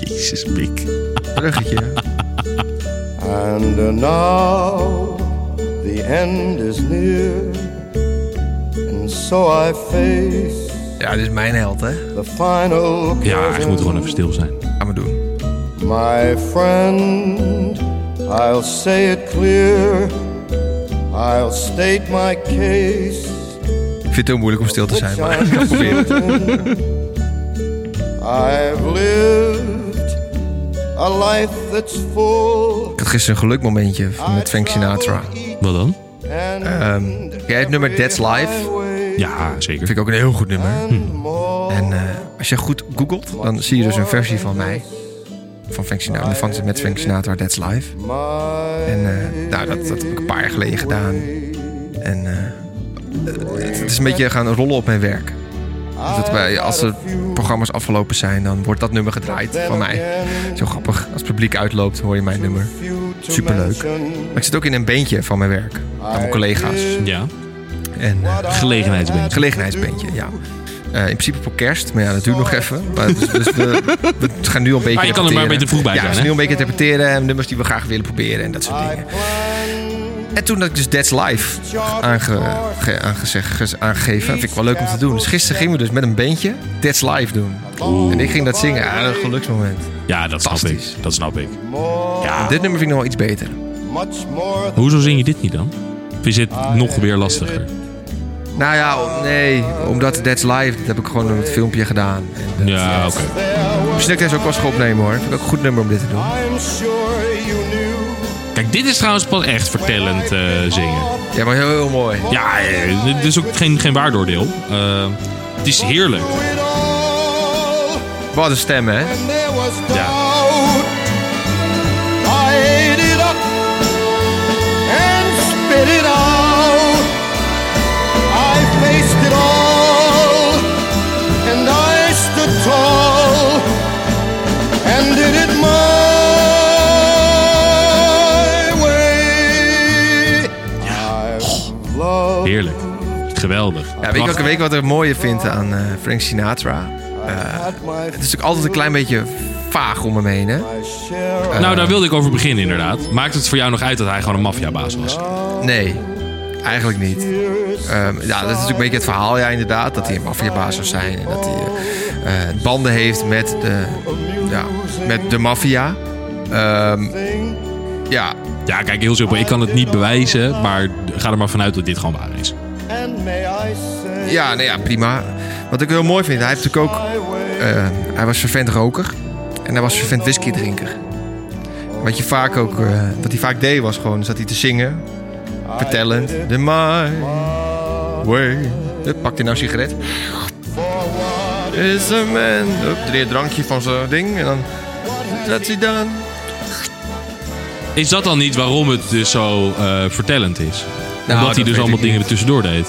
Speaker 1: Jezus, pik.
Speaker 2: Bruggetje.
Speaker 4: And uh, now the end is near, and so I face
Speaker 2: [laughs] ja, dit is mijn held, hè?
Speaker 4: the final.
Speaker 1: Ja, eigenlijk moet gewoon even stil zijn.
Speaker 2: Gaan we doen.
Speaker 4: My friend, I'll say it clear. I'll state my case.
Speaker 2: Ik vind het heel moeilijk om stil te zijn, maar [laughs] ik ga het proberen.
Speaker 4: I've lived a life that's full.
Speaker 2: Ik had gisteren een gelukmomentje met Frank Sinatra.
Speaker 1: Wat dan?
Speaker 2: Ehm, ken jij het nummer That's Life?
Speaker 1: Ja, zeker.
Speaker 2: Vind ik ook een heel goed nummer. En eh, als je goed googelt, dan zie je dus een versie van mij. Van Frank Sinatra, van, met Frank Sinatra, That's Life. En eh, nou, dat, dat heb ik een paar jaar geleden gedaan. En eh, het, het is een beetje gaan rollen op mijn werk. Dus dat wij, als de programma's afgelopen zijn, dan wordt dat nummer gedraaid van mij. Zo grappig. Als het publiek uitloopt, hoor je mijn nummer. Superleuk. Maar ik zit ook in een beentje van mijn werk. Aan mijn collega's.
Speaker 1: Ja,
Speaker 2: En eh,
Speaker 1: gelegenheidsband.
Speaker 2: gelegenheidsbandje, ja. Eh, in principe voor kerst, maar ja, dat duurt nog even. Maar dus, dus we, we gaan nu al een beetje
Speaker 1: Maar je kan er maar
Speaker 2: repeteren.
Speaker 1: een beetje vroeg bij
Speaker 2: ja,
Speaker 1: zijn,
Speaker 2: we
Speaker 1: hè?
Speaker 2: nu al een beetje interpreteren en nummers die we graag willen proberen en dat soort dingen. En toen had ik dus That's Life aange, ge- aangezegd, ge- aangegeven. Vind ik wel leuk om te doen. Dus gisteren gingen we dus met een bandje That's Life doen. En ik ging dat zingen. Ja, dat geluksmoment.
Speaker 1: Ja, dat snap ik.
Speaker 2: Fantastisch.
Speaker 1: Dat snap ik.
Speaker 2: Dit nummer vind ik nog wel iets beter.
Speaker 4: Much more
Speaker 1: Hoezo zing je dit niet dan? Of is dit nog weer lastiger?
Speaker 2: Nou ja, om- nee. Omdat That's Life, dat heb ik gewoon een filmpje gedaan. En
Speaker 1: Ja, oké.
Speaker 2: misschien dat ik deze ook als ga opnemen hoor. Vind ik ook een goed nummer om dit te doen.
Speaker 4: I'm sure you knew
Speaker 1: Kijk, dit is trouwens pas echt vertellend eh, zingen.
Speaker 2: Ja, maar heel, heel mooi.
Speaker 1: Ja, eh, dit is ook geen, geen waardoordeel. Eh, het is heerlijk.
Speaker 4: it all.
Speaker 2: Wat een stem, hè?
Speaker 4: And there
Speaker 1: Ja.
Speaker 4: was doubt. I ate it up and spit it out. I faced it all and I stood tall and did it my way. I've loved
Speaker 1: Heerlijk. Geweldig.
Speaker 2: Ja, weet, je ook, weet je wat ik het mooie vind aan eh, Frank Sinatra?
Speaker 4: at my
Speaker 2: Het is natuurlijk altijd een klein beetje vaag om hem heen, hè?
Speaker 4: share of
Speaker 1: Nou, daar wilde ik over beginnen inderdaad. Maakt het voor jou nog uit dat hij gewoon een maffiabaas was?
Speaker 2: Nee, eigenlijk niet. Ehm, ja, dat is natuurlijk een beetje het verhaal, ja, inderdaad. Dat hij een maffiabaas zou zijn. En dat hij eh, eh, banden heeft met de, ja, met de maffia. Ehm, ja,
Speaker 1: Ja, kijk, heel simpel. Ik kan het niet bewijzen, maar ga er maar vanuit dat dit gewoon waar is.
Speaker 4: and may I say
Speaker 2: ja, nou ja, prima. Wat ik heel mooi vind, hij heeft natuurlijk ook...
Speaker 4: my way.
Speaker 2: eh, hij was vervent roker. En hij was vervent whiskydrinker. Wat, je vaak ook, eh, wat hij vaak deed was gewoon, zat hij te zingen. Vertellend. The my way. Hup, Pakt hij nou een sigaret? Is een man. Hup, drie drankje van zijn ding. En dan... Dat hij dan...
Speaker 1: Is dat dan niet waarom het dus zo eh, vertellend is? Omdat
Speaker 2: Nou, dat
Speaker 1: hij dus
Speaker 2: weet
Speaker 1: allemaal
Speaker 2: ik
Speaker 1: dingen
Speaker 2: niet.
Speaker 1: er tussendoor deed.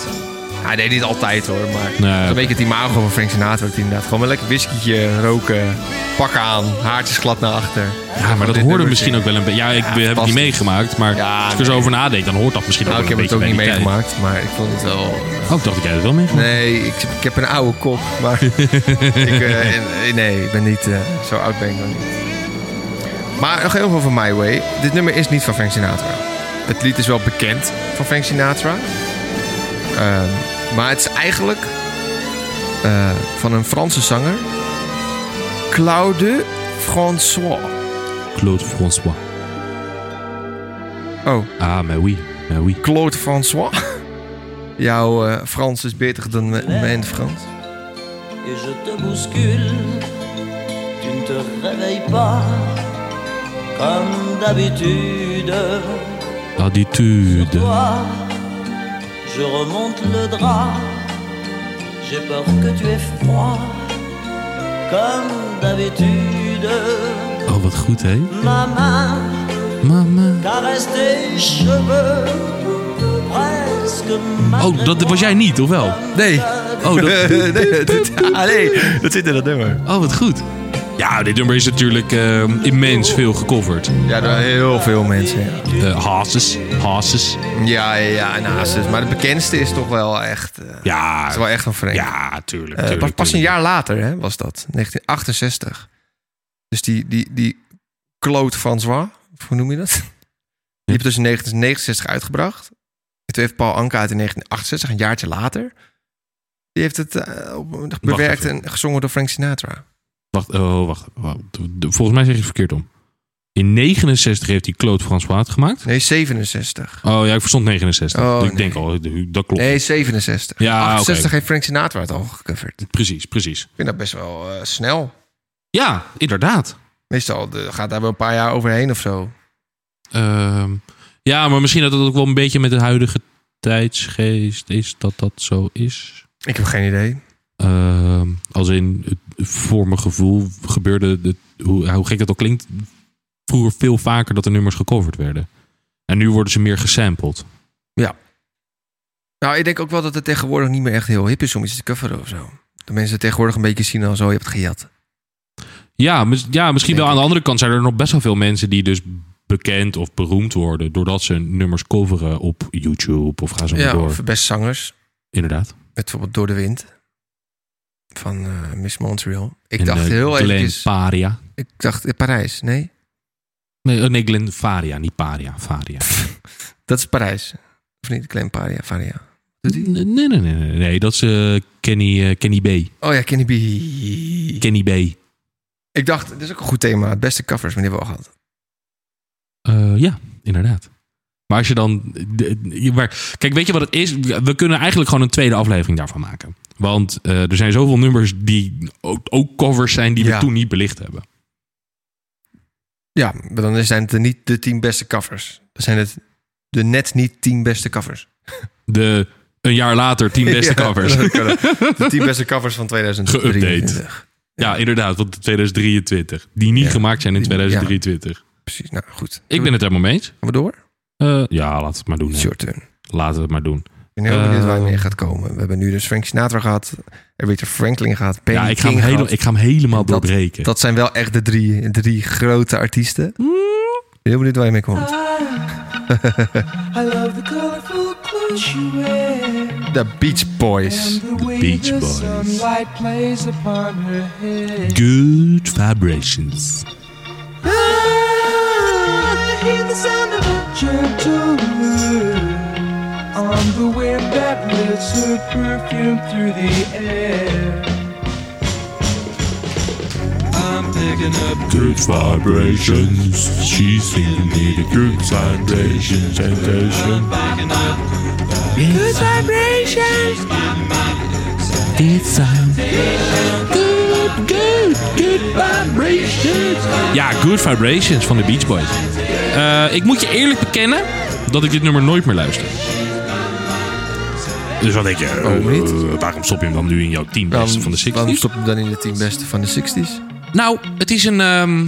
Speaker 2: Hij deed dit altijd hoor, maar...
Speaker 1: Nee.
Speaker 2: dat is Een beetje het imago van Frank Sinatra. Dat hij inderdaad gewoon een lekker whiskietje roken. Pak aan. Haartjes glad naar achter.
Speaker 1: Ja, maar dat
Speaker 2: Dit
Speaker 1: hoorde
Speaker 2: nummer
Speaker 1: misschien
Speaker 2: zingen.
Speaker 1: ook wel een beetje. Ja, ik heb het niet
Speaker 2: fantastisch.
Speaker 1: meegemaakt, maar
Speaker 2: Ja,
Speaker 1: als ik er zo
Speaker 2: nee.
Speaker 1: over nadenk, dan hoort dat misschien ook
Speaker 2: Nou, ik
Speaker 1: wel
Speaker 2: heb
Speaker 1: een
Speaker 2: het
Speaker 1: beetje
Speaker 2: ook niet
Speaker 1: bij die tijd.
Speaker 2: meegemaakt, maar ik vond het wel...
Speaker 1: Oh, ik dacht dat jij het wel meegemaakt.
Speaker 2: Nee, ik, ik heb een oude kop, maar ik, eh, eh, nee, ik ben niet eh, zo oud ben ik nog niet. Maar nog heel veel van My Way. Dit nummer is niet van Frank Sinatra. Het lied is wel bekend van Frank Sinatra, Ehm, maar het is eigenlijk eh, van een Franse zanger, Claude François.
Speaker 1: Claude François.
Speaker 2: Oh,
Speaker 1: Ah, mais oui. Mais oui.
Speaker 2: Claude François. [laughs] Jouw eh, Frans is beter dan m- mijn Frans.
Speaker 5: et je te bouscule. Tu ne te réveilles pas comme d'habitude.
Speaker 1: Attitude.
Speaker 5: Toi, je remonte le drap. J'ai peur que tu aies froid comme d'habitude.
Speaker 1: Oh, wat goed, hè?
Speaker 5: Ma main
Speaker 1: Mama.
Speaker 5: caresse tes cheveux. Presque
Speaker 1: Oh, dat was jij niet, of wel?
Speaker 2: Nee.
Speaker 1: Oh,
Speaker 2: [laughs]
Speaker 1: dat...
Speaker 2: nee, dat, [laughs] ah, nee, dat zit in dat nummer.
Speaker 1: oh wat goed. Ja, dit nummer is natuurlijk eh, immens veel gecoverd.
Speaker 2: Ja, door heel veel mensen. Ja,
Speaker 1: Eh Haases. Haases.
Speaker 2: ja, ja naast het. Maar de bekendste is toch wel echt, eh,
Speaker 1: Ja.
Speaker 2: is wel echt van Frank.
Speaker 1: Ja, tuurlijk.
Speaker 2: Eh,
Speaker 1: tuurlijk
Speaker 2: pas, pas een
Speaker 1: tuurlijk.
Speaker 2: jaar later hè, was dat, 1968. Dus die, die, die Claude François, of hoe noem je dat? Die heeft dus in 1969 uitgebracht. En toen heeft Paul Anka het in 1968, een jaartje later. Die heeft het eh, op- bewerkt
Speaker 1: even.
Speaker 2: en gezongen door Frank Sinatra.
Speaker 1: Wacht, oh, wacht. wacht. Volgens mij zeg je het verkeerd om. In 69 heeft hij Claude François het gemaakt.
Speaker 2: Nee, 67.
Speaker 1: Oh ja, ik verstond 69.
Speaker 2: Oh,
Speaker 1: Dus ik
Speaker 2: nee.
Speaker 1: denk al, dat klopt.
Speaker 2: Nee, 67.
Speaker 1: Ja, oké.
Speaker 2: 68 heeft Frank Sinatra het al gecoverd.
Speaker 1: Precies, precies.
Speaker 2: Ik vind dat best wel eh, snel.
Speaker 1: Ja, inderdaad.
Speaker 2: Meestal eh, gaat daar wel een paar jaar overheen of zo.
Speaker 1: Ehm, ja, maar misschien dat het ook wel een beetje met de huidige tijdsgeest is dat dat zo is.
Speaker 2: Ik heb geen idee.
Speaker 1: Ehm, als in, het- voor mijn gevoel gebeurde, het, hoe, hoe gek dat ook klinkt, vroeger veel vaker dat de nummers gecoverd werden. En nu worden ze meer gesampled.
Speaker 2: Nou, ik denk ook wel dat het tegenwoordig niet meer echt heel hip is om iets te coveren of zo. Dat mensen het tegenwoordig een beetje zien als zo, je hebt het gejat.
Speaker 1: Ja, mis- ja misschien wel.
Speaker 2: Denk
Speaker 1: Aan
Speaker 2: ik.
Speaker 1: de andere kant zijn er nog best wel veel mensen die dus bekend of beroemd worden doordat ze nummers coveren op YouTube of gaan ze maar
Speaker 2: Ja,
Speaker 1: door.
Speaker 2: of best zangers.
Speaker 1: Inderdaad.
Speaker 2: Met bijvoorbeeld Door de Wind. Van eh, Miss Montreal. Ik
Speaker 1: En,
Speaker 2: dacht
Speaker 1: eh,
Speaker 2: heel
Speaker 1: Glenn
Speaker 2: eventjes...
Speaker 1: Paria.
Speaker 2: Ik dacht eh, Parijs, nee?
Speaker 1: Nee, eh, nee Glenn Faria, niet Paria. Faria.
Speaker 2: Dat is Parijs. Of niet? Klein Paria, Faria.
Speaker 1: Nee, nee, nee, nee, nee. nee, dat is eh, Kenny, eh, Kenny B.
Speaker 2: Oh ja, Kenny B.
Speaker 1: Kenny B.
Speaker 2: Ik dacht, dit is ook een goed thema. Het beste covers, maar die hebben we al gehad.
Speaker 1: Eh, ja, inderdaad. Maar als je dan. de- je- Maar, kijk, weet je wat het is? We kunnen eigenlijk gewoon een tweede aflevering daarvan maken. Want eh, er zijn zoveel nummers die ook, ook covers zijn die
Speaker 2: Ja.
Speaker 1: we toen niet belicht hebben.
Speaker 2: Ja, maar dan zijn het niet de tien beste covers. Dan zijn het de net niet tien beste covers.
Speaker 1: De een jaar later
Speaker 2: [laughs]
Speaker 1: tien beste
Speaker 2: Ja,
Speaker 1: covers.
Speaker 2: dat kan ook. De tien beste covers van 2023.
Speaker 1: Ja, inderdaad, want 2023. Die niet
Speaker 2: Ja.
Speaker 1: gemaakt zijn in
Speaker 2: Die-
Speaker 1: 2023.
Speaker 2: Precies, nou goed.
Speaker 1: Ik ben het helemaal mee eens.
Speaker 2: Gaan we door?
Speaker 1: Eh, ja, laat het maar doen. hè.
Speaker 2: It's your turn.
Speaker 1: Laten we het maar doen.
Speaker 2: Ik ben heel benieuwd waar het
Speaker 1: Eh,
Speaker 2: meer gaat komen. We hebben nu dus Frank Sinatra gehad, Richard Franklin gehad, Penny
Speaker 1: ja, ik ga,
Speaker 2: King
Speaker 1: hem
Speaker 2: gehad.
Speaker 1: hele- ik ga hem helemaal
Speaker 2: Dat-
Speaker 1: doorbreken.
Speaker 2: Dat zijn wel echt de drie, drie grote artiesten. Ik
Speaker 1: Hmm?
Speaker 2: ben heel benieuwd waar je mee komt.
Speaker 5: I love the colorful clothes you wear
Speaker 2: The Beach Boys.
Speaker 5: The way
Speaker 1: Beach
Speaker 5: the
Speaker 1: Boys.
Speaker 5: sunlight plays upon her hair
Speaker 1: Good vibrations.
Speaker 5: I Ah, hear the sound of a gentle wind On the wind that lifts her perfume through the air I'm picking up
Speaker 1: Good vibrations. She singing me the good vibrations. Good vibrations. Good sound. Good, good, good vibrations. Ja, Good Vibrations van de Beach Boys. Eh, ik moet je eerlijk bekennen dat ik dit nummer nooit meer luister. Dus wat denk je? eh,
Speaker 2: Waarom Oh, niet?
Speaker 1: eh, waarom stop je hem dan nu in jouw team beste van de 60s?
Speaker 2: Waarom stoppen we dan in de tien beste van de 60s?
Speaker 1: Nou, het is een. ehm,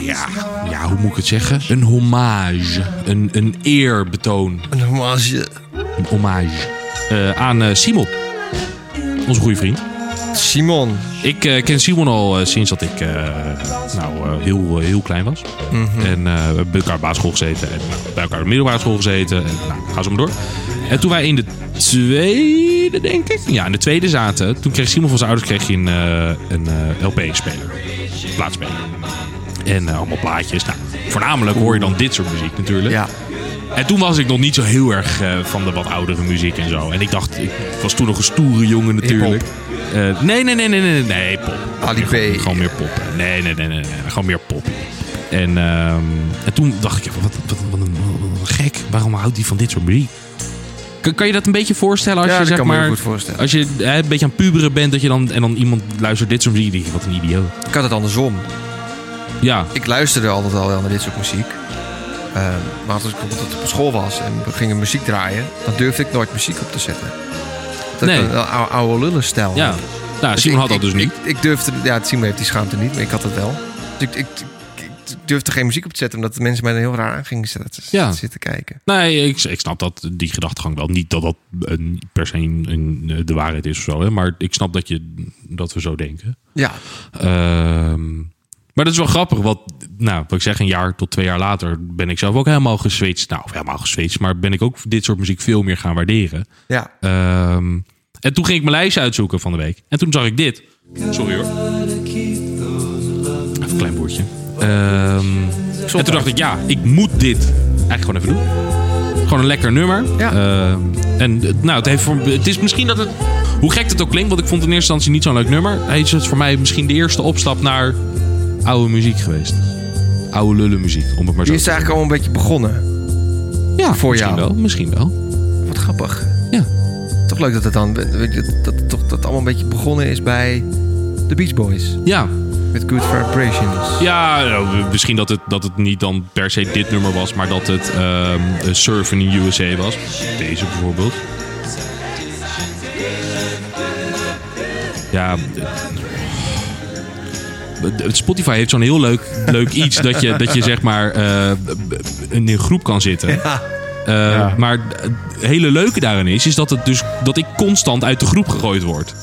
Speaker 1: ja, ja, hoe moet ik het zeggen? Een hommage. Een, een eerbetoon.
Speaker 2: Een hommage.
Speaker 1: Een hommage. eh, aan eh, Simon. Onze goede vriend.
Speaker 2: Simon.
Speaker 1: Ik eh, ken Simon al eh, sinds dat ik eh, nou, eh, heel, eh, heel klein was. En eh, we hebben bij elkaar op basisschool gezeten. En nou, bij elkaar op de middelbare school gezeten. En nou, ga zo maar door. En toen wij in de tweede, denk ik. Ja, in de tweede zaten. Toen kreeg Simon van zijn ouders kreeg hij een, eh, een eh, LP-speler. Plaatspeler. En eh, allemaal plaatjes. Nou, voornamelijk hoor je dan dit soort muziek natuurlijk.
Speaker 2: Ja.
Speaker 1: En toen was ik nog niet zo heel erg eh, van de wat oudere muziek en zo. En ik dacht, ik was toen nog een stoere jongen natuurlijk. Eh, nee, nee, nee, nee, nee, nee, pop.
Speaker 2: Ali B.
Speaker 1: Gewoon, gewoon meer pop. hè. Nee, nee, nee, nee, nee, gewoon meer pop. En, ehm, en toen dacht ik, ja, wat, wat, wat, een, wat een gek. Waarom houdt hij van dit soort muziek? Kan, kan je dat een beetje voorstellen als
Speaker 2: Ja,
Speaker 1: je
Speaker 2: dat
Speaker 1: zeg
Speaker 2: kan me
Speaker 1: maar,
Speaker 2: heel goed voorstellen.
Speaker 1: als je hè, een beetje aan het puberen bent dat je dan en dan iemand luistert dit soort muziek, denk je wat een idioot.
Speaker 2: Ik had het andersom.
Speaker 1: Ja,
Speaker 2: Ik luisterde altijd al wel naar dit soort muziek. Ehm, maar als ik bijvoorbeeld op school was en we gingen muziek draaien, dan durfde ik nooit muziek op te zetten. Dat
Speaker 1: Nee.
Speaker 2: nee. een oude, oude lullenstijl.
Speaker 1: ja. Nou,
Speaker 2: Dus
Speaker 1: Simon
Speaker 2: ik-
Speaker 1: had dat dus
Speaker 2: ik-
Speaker 1: niet.
Speaker 2: Ik, ik durfde, ja, Simon heeft die schaamte niet, maar ik had het wel. Dus ik, ik, ik, ik durfde geen muziek op te zetten, omdat de mensen mij dan heel raar aan gingen zitten,
Speaker 1: Ja.
Speaker 2: zitten kijken.
Speaker 1: Nee, ik, ik snap dat, die gedachtegang wel. Niet dat dat een, per se een, een, de waarheid is of zo. Hè? Maar ik snap dat, je, dat we zo denken.
Speaker 2: Ja,
Speaker 1: Ehm, maar dat is wel grappig. Want, nou, wat ik zeg, een jaar tot twee jaar later ben ik zelf ook helemaal geswitcht. Nou, of helemaal geswitcht. Maar ben ik ook dit soort muziek veel meer gaan waarderen.
Speaker 2: ja.
Speaker 1: Ehm, en toen ging ik mijn lijstje uitzoeken van de week. En toen zag ik dit. Sorry hoor. Even een klein boertje. Ehm, en toen dacht ik, ja, ik moet dit eigenlijk gewoon even doen. Gewoon een lekker nummer.
Speaker 2: Ja.
Speaker 1: Ehm, en eh, nou, het, heeft voor, het is misschien dat het... Hoe gek het ook klinkt, want ik vond het in eerste instantie niet zo'n leuk nummer. Hij is het voor mij misschien de eerste opstap naar oude muziek geweest. Oude lullenmuziek, om het maar zo
Speaker 2: Hier
Speaker 1: te
Speaker 2: is het eigenlijk al een beetje begonnen.
Speaker 1: Ja,
Speaker 2: voor
Speaker 1: misschien
Speaker 2: jou.
Speaker 1: wel. Misschien wel.
Speaker 2: Wat grappig.
Speaker 1: Ja.
Speaker 2: Toch leuk dat het dan, weet je, dat het toch dat allemaal een beetje begonnen is bij de Beach Boys.
Speaker 1: Ja,
Speaker 2: Met Good Vibrations.
Speaker 1: Ja, nou, misschien dat het, dat het niet dan per se dit nummer was, maar dat het ehm Surfen in USA was. Deze bijvoorbeeld. Ja. het- het- Spotify heeft zo'n heel leuk,
Speaker 2: [laughs]
Speaker 1: leuk iets dat je, dat je zeg maar eh, in een groep kan zitten. Eh, Maar het hele leuke daarin is, is dat, het dus, dat ik constant uit de groep gegooid word.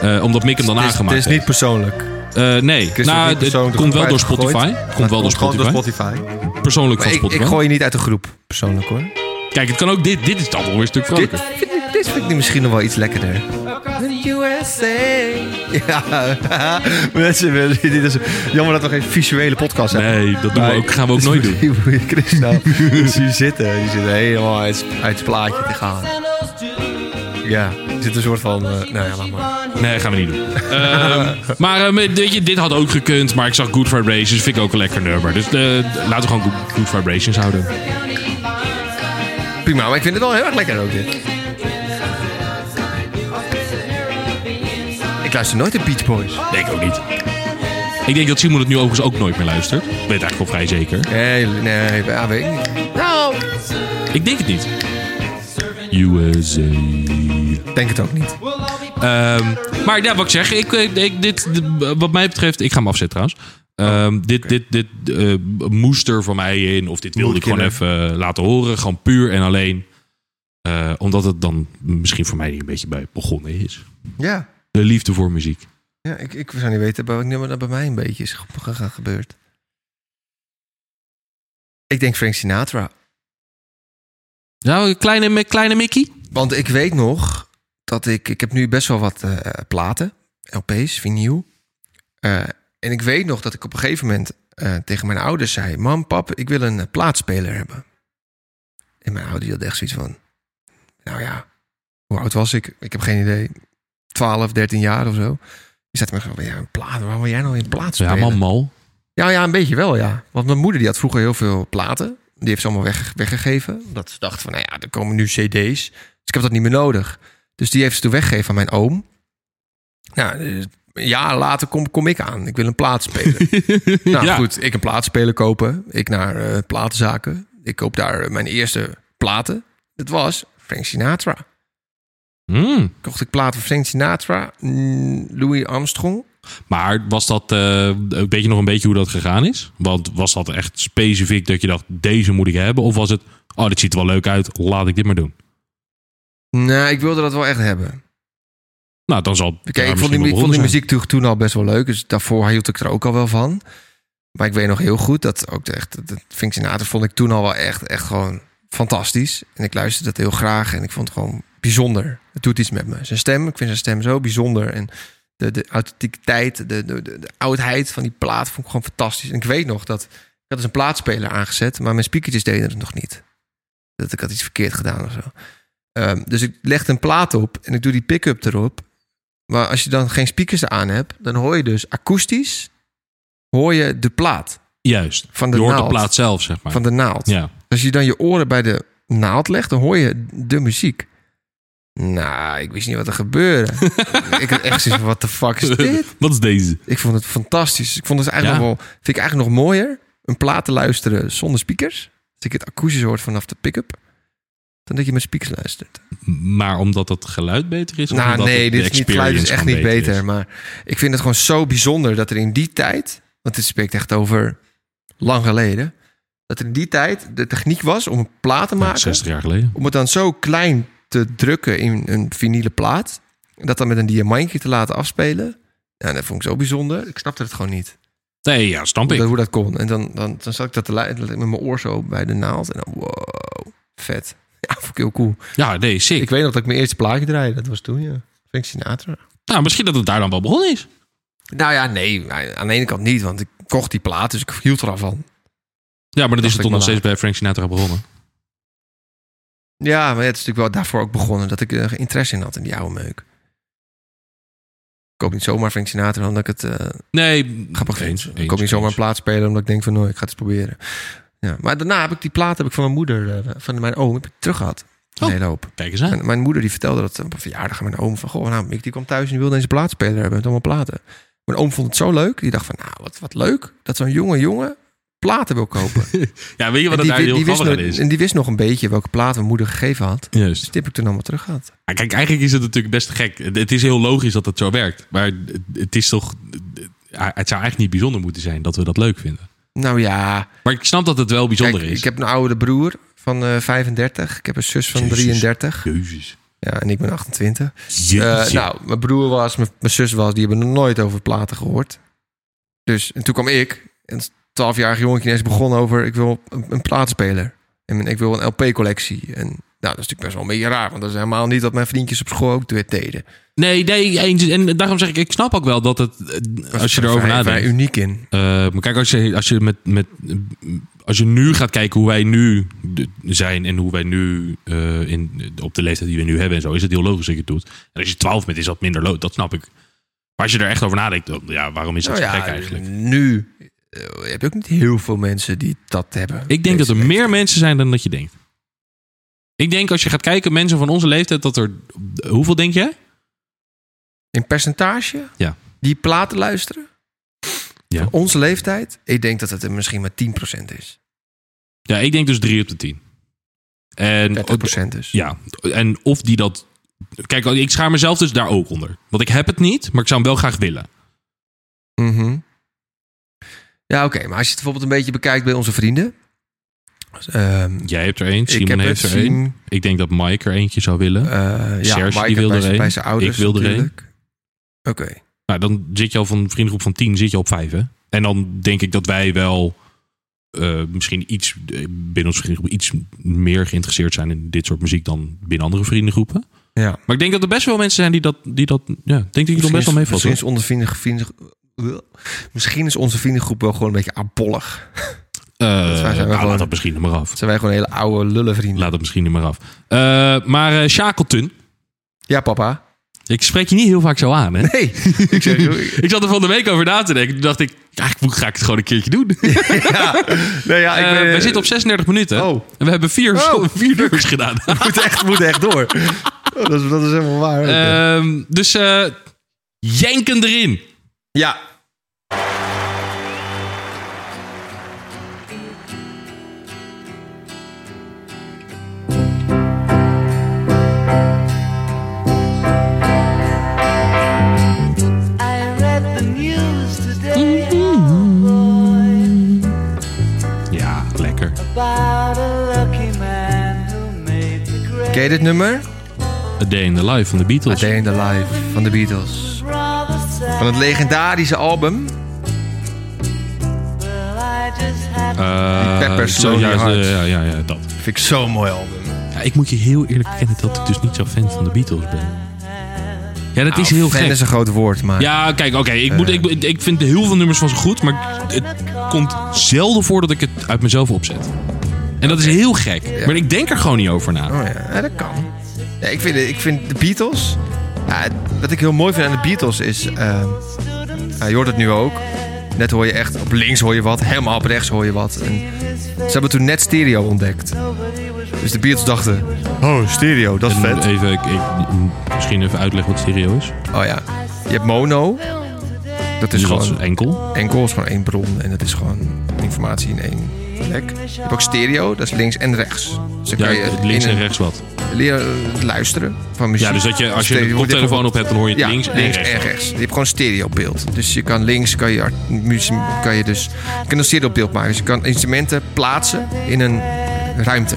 Speaker 1: Eh, omdat Mick hem dan
Speaker 2: Het is-
Speaker 1: aangemaakt
Speaker 2: Het is
Speaker 1: heeft.
Speaker 2: niet persoonlijk.
Speaker 1: Eh, nee,
Speaker 2: Ik is
Speaker 1: nou,
Speaker 2: niet
Speaker 1: het,
Speaker 2: persoonlijk de
Speaker 1: komt wel
Speaker 2: groep
Speaker 1: door
Speaker 2: uitgegooid,
Speaker 1: Spotify.
Speaker 2: maar het
Speaker 1: Komt wel door
Speaker 2: gewoon
Speaker 1: Spotify.
Speaker 2: Spotify.
Speaker 1: Persoonlijk
Speaker 2: Maar
Speaker 1: van
Speaker 2: ik,
Speaker 1: Spotify.
Speaker 2: ik gooi je niet uit de groep, persoonlijk hoor.
Speaker 1: Kijk, het kan ook dit. Dit is dan wel weer een stuk
Speaker 2: Dit
Speaker 1: vrolijker.
Speaker 2: vind, ik, dit vind ik nu misschien nog wel iets lekkerder. Ja, [laughs] mensen, we- dit is jammer dat we geen visuele podcast hebben.
Speaker 1: Nee, dat doen we ook, gaan we ook nooit
Speaker 2: [laughs]
Speaker 1: doen.
Speaker 2: Chris nou, [laughs] die zie je zitten, die zit helemaal uit, uit het plaatje te gaan. Ja, er zit een soort van, eh, nou ja, laat maar.
Speaker 1: Nee, gaan we niet doen. [laughs] Ehm, maar ehm, weet je, dit had ook gekund, maar ik zag Good Vibrations, vind ik ook een lekker nummer. Dus eh, laten we gewoon Good, Good Vibrations houden.
Speaker 2: Prima, maar ik vind het wel heel erg lekker ook dit. Ik luister nooit de Beach Boys.
Speaker 1: Nee, ik ook niet. Ik denk dat Simon het nu overigens ook nooit meer luistert. Ik weet het eigenlijk wel vrij zeker.
Speaker 2: Nee, nee, ja, weet ik niet.
Speaker 1: Ik denk het niet. USA.
Speaker 2: Denk het ook niet.
Speaker 1: Ehm, maar ja, wat ik zeg, ik, eh, ik, dit, dit- wat mij betreft, ik ga hem afzetten trouwens. Ehm, dit dit, dit eh, moest er voor mij in, of dit wilde
Speaker 2: Moet
Speaker 1: ik gewoon even eh, laten horen. Gewoon puur en alleen. Eh, omdat het dan misschien voor mij hier een beetje bij begonnen is.
Speaker 2: Ja,
Speaker 1: De liefde voor muziek.
Speaker 2: ja ik, ik zou niet weten welk nummer dat bij mij een beetje is ge- ge- ge- gebeurd. Ik denk Frank Sinatra.
Speaker 1: Nou, kleine, kleine Mickey?
Speaker 2: Want ik weet nog dat ik... Ik heb nu best wel wat eh, platen, LP's, vinyl. Eh, en ik weet nog dat ik op een gegeven moment eh, tegen mijn ouders zei... Mam, pap, ik wil een eh, plaatspeler hebben. En mijn ouders hadden echt zoiets van... Nou ja, hoe oud was ik? Ik heb geen idee. 12, 13 jaar of zo. Die zaten me gewoon van, ja, een plaat, waarom wil jij nou in plaats
Speaker 1: Ja,
Speaker 2: spelen?
Speaker 1: man, mal.
Speaker 2: Ja, ja, een beetje wel, ja. Want mijn moeder die had vroeger heel veel platen. Die heeft ze allemaal weg, weggegeven. Omdat ze dacht van, nou ja, er komen nu cd's. Dus ik heb dat niet meer nodig. Dus die heeft ze toen weggegeven aan mijn oom. Nou, eh, een jaar later kom, kom ik aan. Ik wil een plaat spelen. nou
Speaker 1: Ja.
Speaker 2: goed, ik een plaatspeler kopen. Ik naar eh, platenzaken. Ik koop daar eh, mijn eerste platen. Dat was Frank Sinatra.
Speaker 1: Hmm.
Speaker 2: Kocht ik platen van Frank Sinatra, mm, Louis Armstrong.
Speaker 1: Maar was dat, eh, weet je nog een beetje hoe dat gegaan is? Want was dat echt specifiek dat je dacht, deze moet ik hebben? Of was het, oh, dit ziet er wel leuk uit, laat ik dit maar doen?
Speaker 2: Nou, ik wilde dat wel echt hebben.
Speaker 1: Nou, dan zal het
Speaker 2: Kijk,
Speaker 1: daar
Speaker 2: ik vond
Speaker 1: misschien
Speaker 2: die,
Speaker 1: wel
Speaker 2: ik vond die
Speaker 1: begonnen
Speaker 2: muziek toen, toen al best wel leuk. Dus daarvoor hield ik er ook al wel van. Maar ik weet nog heel goed dat ook de, echt, dat- dat Frank Sinatra vond ik toen al wel echt, echt gewoon fantastisch. En ik luisterde dat heel graag en ik vond het gewoon bijzonder. Het doet iets met me. Zijn stem, ik vind zijn stem zo bijzonder. En de, de authenticiteit, de, de, de, de oudheid van die plaat vond ik gewoon fantastisch. En ik weet nog dat, ik had dus een plaatspeler aangezet, maar mijn speakertjes deden het nog niet. Dat ik had iets verkeerd gedaan of zo. Ehm, dus ik legde een plaat op en ik doe die pick-up erop. Maar als je dan geen speakers aan hebt, dan hoor je dus akoestisch hoor je de plaat
Speaker 1: zijn. Juist,
Speaker 2: van de
Speaker 1: je hoort
Speaker 2: naald.
Speaker 1: de plaat zelf, zeg maar.
Speaker 2: Van de naald.
Speaker 1: Ja.
Speaker 2: Als je dan je oren bij de naald legt, dan hoor je de muziek. Nou, ik wist niet wat er
Speaker 1: [laughs]
Speaker 2: gebeurde. ik had echt zoiets van, what the fuck is dit?
Speaker 1: Wat is deze?
Speaker 2: Ik vond het fantastisch. Ik vond het eigenlijk
Speaker 1: Ja.
Speaker 2: nog wel, vind ik eigenlijk nog mooier, een plaat te luisteren zonder speakers. Als ik het akoestisch hoor vanaf de pick-up, dan dat je met speakers luistert.
Speaker 1: Maar omdat dat geluid beter is? of
Speaker 2: Nou,
Speaker 1: omdat
Speaker 2: nee,
Speaker 1: het-
Speaker 2: dit
Speaker 1: de
Speaker 2: is niet geluid is
Speaker 1: experience
Speaker 2: echt
Speaker 1: gewoon
Speaker 2: niet beter.
Speaker 1: is?
Speaker 2: Maar ik vind het gewoon zo bijzonder dat er in die tijd, want dit spreekt echt over lang geleden, dat er in die tijd de techniek was om een plaat te
Speaker 1: Nou,
Speaker 2: maken,
Speaker 1: 60 jaar geleden.
Speaker 2: om het dan zo klein te drukken in een vinylen plaat, en dat dan met een diamantje te laten afspelen. Ja, dat vond ik zo bijzonder. Ik snapte het gewoon niet.
Speaker 1: Nee, ja, stamp
Speaker 2: Hoe
Speaker 1: ik.
Speaker 2: dat, hoe dat kon. En dan, dan, dan zat ik dat te luisteren met mijn oor zo bij de naald. En dan, wow, vet. Ja, vond ik heel cool.
Speaker 1: Ja, nee, sick.
Speaker 2: Ik weet nog dat ik mijn eerste plaatje draaide. Dat was toen, ja. Frank Sinatra.
Speaker 1: Nou, misschien dat het daar dan wel begonnen is.
Speaker 2: Nou ja, nee. Aan de ene kant niet, want ik kocht die plaat, dus ik hield er al van.
Speaker 1: Ja, maar dat is
Speaker 2: Dacht
Speaker 1: het
Speaker 2: ik
Speaker 1: toch nog
Speaker 2: maar
Speaker 1: steeds bij Frank Sinatra begonnen.
Speaker 2: Ja, maar het is natuurlijk wel daarvoor ook begonnen dat ik er interesse in had in die oude meuk. Ik koop niet zomaar Frank Sinatra omdat ik het eh,
Speaker 1: Nee,
Speaker 2: grappig
Speaker 1: eens,
Speaker 2: vind.
Speaker 1: eens,
Speaker 2: ik koop niet zomaar
Speaker 1: eens.
Speaker 2: een plaat spelen omdat ik denk van, nou, ik ga het eens proberen. Ja, maar daarna heb ik die plaat heb ik van mijn moeder, eh, van mijn oom, heb ik terug gehad. Een
Speaker 1: Oh.
Speaker 2: hele hoop.
Speaker 1: Kijk eens aan.
Speaker 2: Mijn, mijn moeder die vertelde dat eh, op een verjaardag aan mijn oom van, goh, nou, Mick die kwam thuis en die wilde eens een plaatspeler hebben met allemaal platen. Mijn oom vond het zo leuk, die dacht van, nou, wat, wat leuk dat zo'n jonge jongen platen wil kopen.
Speaker 1: Ja, weet je wat dat
Speaker 2: En die,
Speaker 1: daar
Speaker 2: wi-
Speaker 1: heel
Speaker 2: die wist
Speaker 1: grappig
Speaker 2: nog,
Speaker 1: aan is?
Speaker 2: en die wist nog een beetje welke plaat mijn moeder gegeven had. Dus
Speaker 1: Juist.
Speaker 2: die heb ik toen allemaal terug gehad.
Speaker 1: Ja, Kijk, eigenlijk is het natuurlijk best gek. Het- Het is heel logisch dat het zo werkt. Maar het- het is toch. Het zou eigenlijk niet bijzonder moeten zijn dat we dat leuk vinden.
Speaker 2: Nou ja,
Speaker 1: Maar ik snap dat het wel bijzonder
Speaker 2: kijk,
Speaker 1: is.
Speaker 2: ik heb een oudere broer van eh, 35. Ik heb een zus van
Speaker 1: Jezus.
Speaker 2: 33.
Speaker 1: Jezus.
Speaker 2: Ja, en ik ben 28. Eh,
Speaker 1: Jezus.
Speaker 2: nou, mijn broer was, mijn, mijn zus was, die hebben nog nooit over platen gehoord. Dus, en toen kwam ik, een 12-jarig jongetje, en ze begon over, ik wil een, een plaatspeler. En ik wil een LP-collectie. En Nou, dat is natuurlijk best wel een beetje raar. Want dat is helemaal niet wat mijn vriendjes op school ook weer deden.
Speaker 1: Nee, nee, eens. En daarom zeg ik, ik snap ook wel dat het, eh, als je erover
Speaker 2: Vrij- vrij
Speaker 1: nadenkt.
Speaker 2: uniek in.
Speaker 1: Eh, maar kijk, als je, als, je met, met, als je nu gaat kijken hoe wij nu de- zijn en hoe wij nu eh, in, op de leeftijd die we nu hebben en zo, is het heel logisch dat je het doet. En als je 12 bent, is dat minder lood, dat snap ik. Maar als je er echt over nadenkt, dan- ja, waarom is dat
Speaker 2: Nou
Speaker 1: zo
Speaker 2: ja,
Speaker 1: gek eigenlijk?
Speaker 2: nu eh, heb je ook niet heel veel mensen die dat hebben. Dus
Speaker 1: Ik denk dat er
Speaker 2: Deze
Speaker 1: meer mensen zijn dan dat je denkt. Ik denk als je gaat kijken, mensen van onze leeftijd, dat er. Hoeveel denk jij?
Speaker 2: In percentage?
Speaker 1: Ja.
Speaker 2: Die platen luisteren?
Speaker 1: Ja.
Speaker 2: Van onze leeftijd? Ik denk dat het er misschien maar 10% is.
Speaker 1: Ja, ik denk dus 3 op de 10. En
Speaker 2: 30% dus.
Speaker 1: Ja, en of die dat. Kijk, ik schaar mezelf dus daar ook onder. Want ik heb het niet, maar ik zou hem wel graag willen.
Speaker 2: Mhm. Ja, oké. maar als je het bijvoorbeeld een beetje bekijkt bij onze vrienden. Ehm,
Speaker 1: Jij hebt er één,
Speaker 2: ik heb
Speaker 1: Simon heeft
Speaker 2: het
Speaker 1: er één.
Speaker 2: zien,
Speaker 1: Ik denk dat Mike er eentje zou willen.
Speaker 2: eh, ja,
Speaker 1: Serge, die
Speaker 2: Mike
Speaker 1: wilde
Speaker 2: bij,
Speaker 1: er
Speaker 2: zijn-
Speaker 1: één.
Speaker 2: bij zijn ouders
Speaker 1: Ik wilde er één.
Speaker 2: natuurlijk. Oké.
Speaker 1: Nou, dan zit je al van een vriendengroep van 10 zit je op 5, hè? En dan denk ik dat wij wel eh, misschien iets eh, binnen onze vriendengroep iets meer geïnteresseerd zijn in dit soort muziek dan binnen andere vriendengroepen.
Speaker 2: Ja.
Speaker 1: Maar ik denk dat er best wel mensen zijn die dat. Die dat ja, ik denk dat je er best wel mee valt.
Speaker 2: misschien
Speaker 1: hoor.
Speaker 2: is, onze vrienden, vrienden- misschien is onze vriendengroep wel gewoon een beetje abollig.
Speaker 1: Eh,
Speaker 2: wij zijn wel
Speaker 1: nou,
Speaker 2: gewoon-
Speaker 1: laat dat misschien er maar af.
Speaker 2: Zijn wij gewoon hele oude lullenvrienden.
Speaker 1: Laat dat misschien er maar af. Eh, maar eh, Shackleton.
Speaker 2: Ja, papa.
Speaker 1: Ik spreek je niet heel vaak zo aan,
Speaker 2: [laughs]
Speaker 1: hè? [laughs]
Speaker 2: Hey. ik zeg, joh,
Speaker 1: Ik zat er van de week over na te denken. Toen dacht ik, ja, ik moet- ga ik het gewoon een keertje doen.
Speaker 2: nee, ja, ik
Speaker 1: Eh,
Speaker 2: ben,
Speaker 1: we zitten op 36 minuten.
Speaker 2: Oh.
Speaker 1: En we hebben vier,
Speaker 2: Oh.
Speaker 1: vier nummers
Speaker 2: [laughs]
Speaker 1: gedaan.
Speaker 2: moet echt, moet echt
Speaker 1: [laughs]
Speaker 2: door. Oh, dat, is, dat is helemaal waar.
Speaker 1: Ehm, dus eh jenken erin.
Speaker 2: ja.
Speaker 5: I read the news today
Speaker 1: Ja, lekker.
Speaker 5: about a lucky man who made the great
Speaker 2: Ken je dit nummer?
Speaker 1: A Day in the Life van de
Speaker 2: A
Speaker 1: Beatles.
Speaker 2: Day in the Life van de Beatles.
Speaker 5: rather sad.
Speaker 2: Van het legendarische album.
Speaker 5: Well, I just had
Speaker 1: Eh,
Speaker 2: Pepper's
Speaker 1: zo
Speaker 2: Lonely
Speaker 1: juist,
Speaker 2: Hearts.
Speaker 1: eh, ja, ja, ja, dat.
Speaker 2: Vind ik zo'n mooi album.
Speaker 1: Ja, ik moet je heel eerlijk bekennen dat ik dus niet zo fan van de Beatles ben. Ja, dat is heel
Speaker 2: Nou, Fan
Speaker 1: gek.
Speaker 2: is een groot woord, maar...
Speaker 1: Ja, kijk, oké. ik, moet- ik, ik vind heel veel nummers van ze goed, maar het komt zelden voor dat ik het uit mezelf opzet. En dat is heel gek. Maar ik denk er gewoon niet over na.
Speaker 2: Oh ja, ja, dat kan. Ja, ik, vind, ik vind de Beatles... Ja, wat ik heel mooi vind aan de Beatles is... eh, nou, je hoort het nu ook. Net hoor je echt... Op links hoor je wat, helemaal op rechts hoor je wat. En ze hebben toen net stereo ontdekt. Dus de Beatles dachten... Oh, stereo, dat is vet.
Speaker 1: Mm, Even, ik, ik- misschien even uitleggen wat stereo is.
Speaker 2: Oh ja. Je hebt mono. Dat is
Speaker 1: Dus dat is
Speaker 2: gewoon
Speaker 1: enkel.
Speaker 2: enkel, is gewoon één bron. En dat is gewoon informatie in één plek. Je hebt ook stereo, dat is links en rechts. Dus dan
Speaker 1: Ja,
Speaker 2: kan je
Speaker 1: links
Speaker 2: in
Speaker 1: en
Speaker 2: een-
Speaker 1: rechts wat.
Speaker 2: leren eh, luisteren van muziek.
Speaker 1: Ja, dus dat je, als
Speaker 2: Stereo-
Speaker 1: je een
Speaker 2: wordt even-
Speaker 1: koptelefoon op hebt, dan hoor je het
Speaker 2: ja,
Speaker 1: links en rechts.
Speaker 2: en rechts. Je hebt gewoon stereobeeld. Dus je kan links kan je art- muzie- kan je dus je kan een stereobeeld maken. Dus je kan instrumenten plaatsen in een ruimte,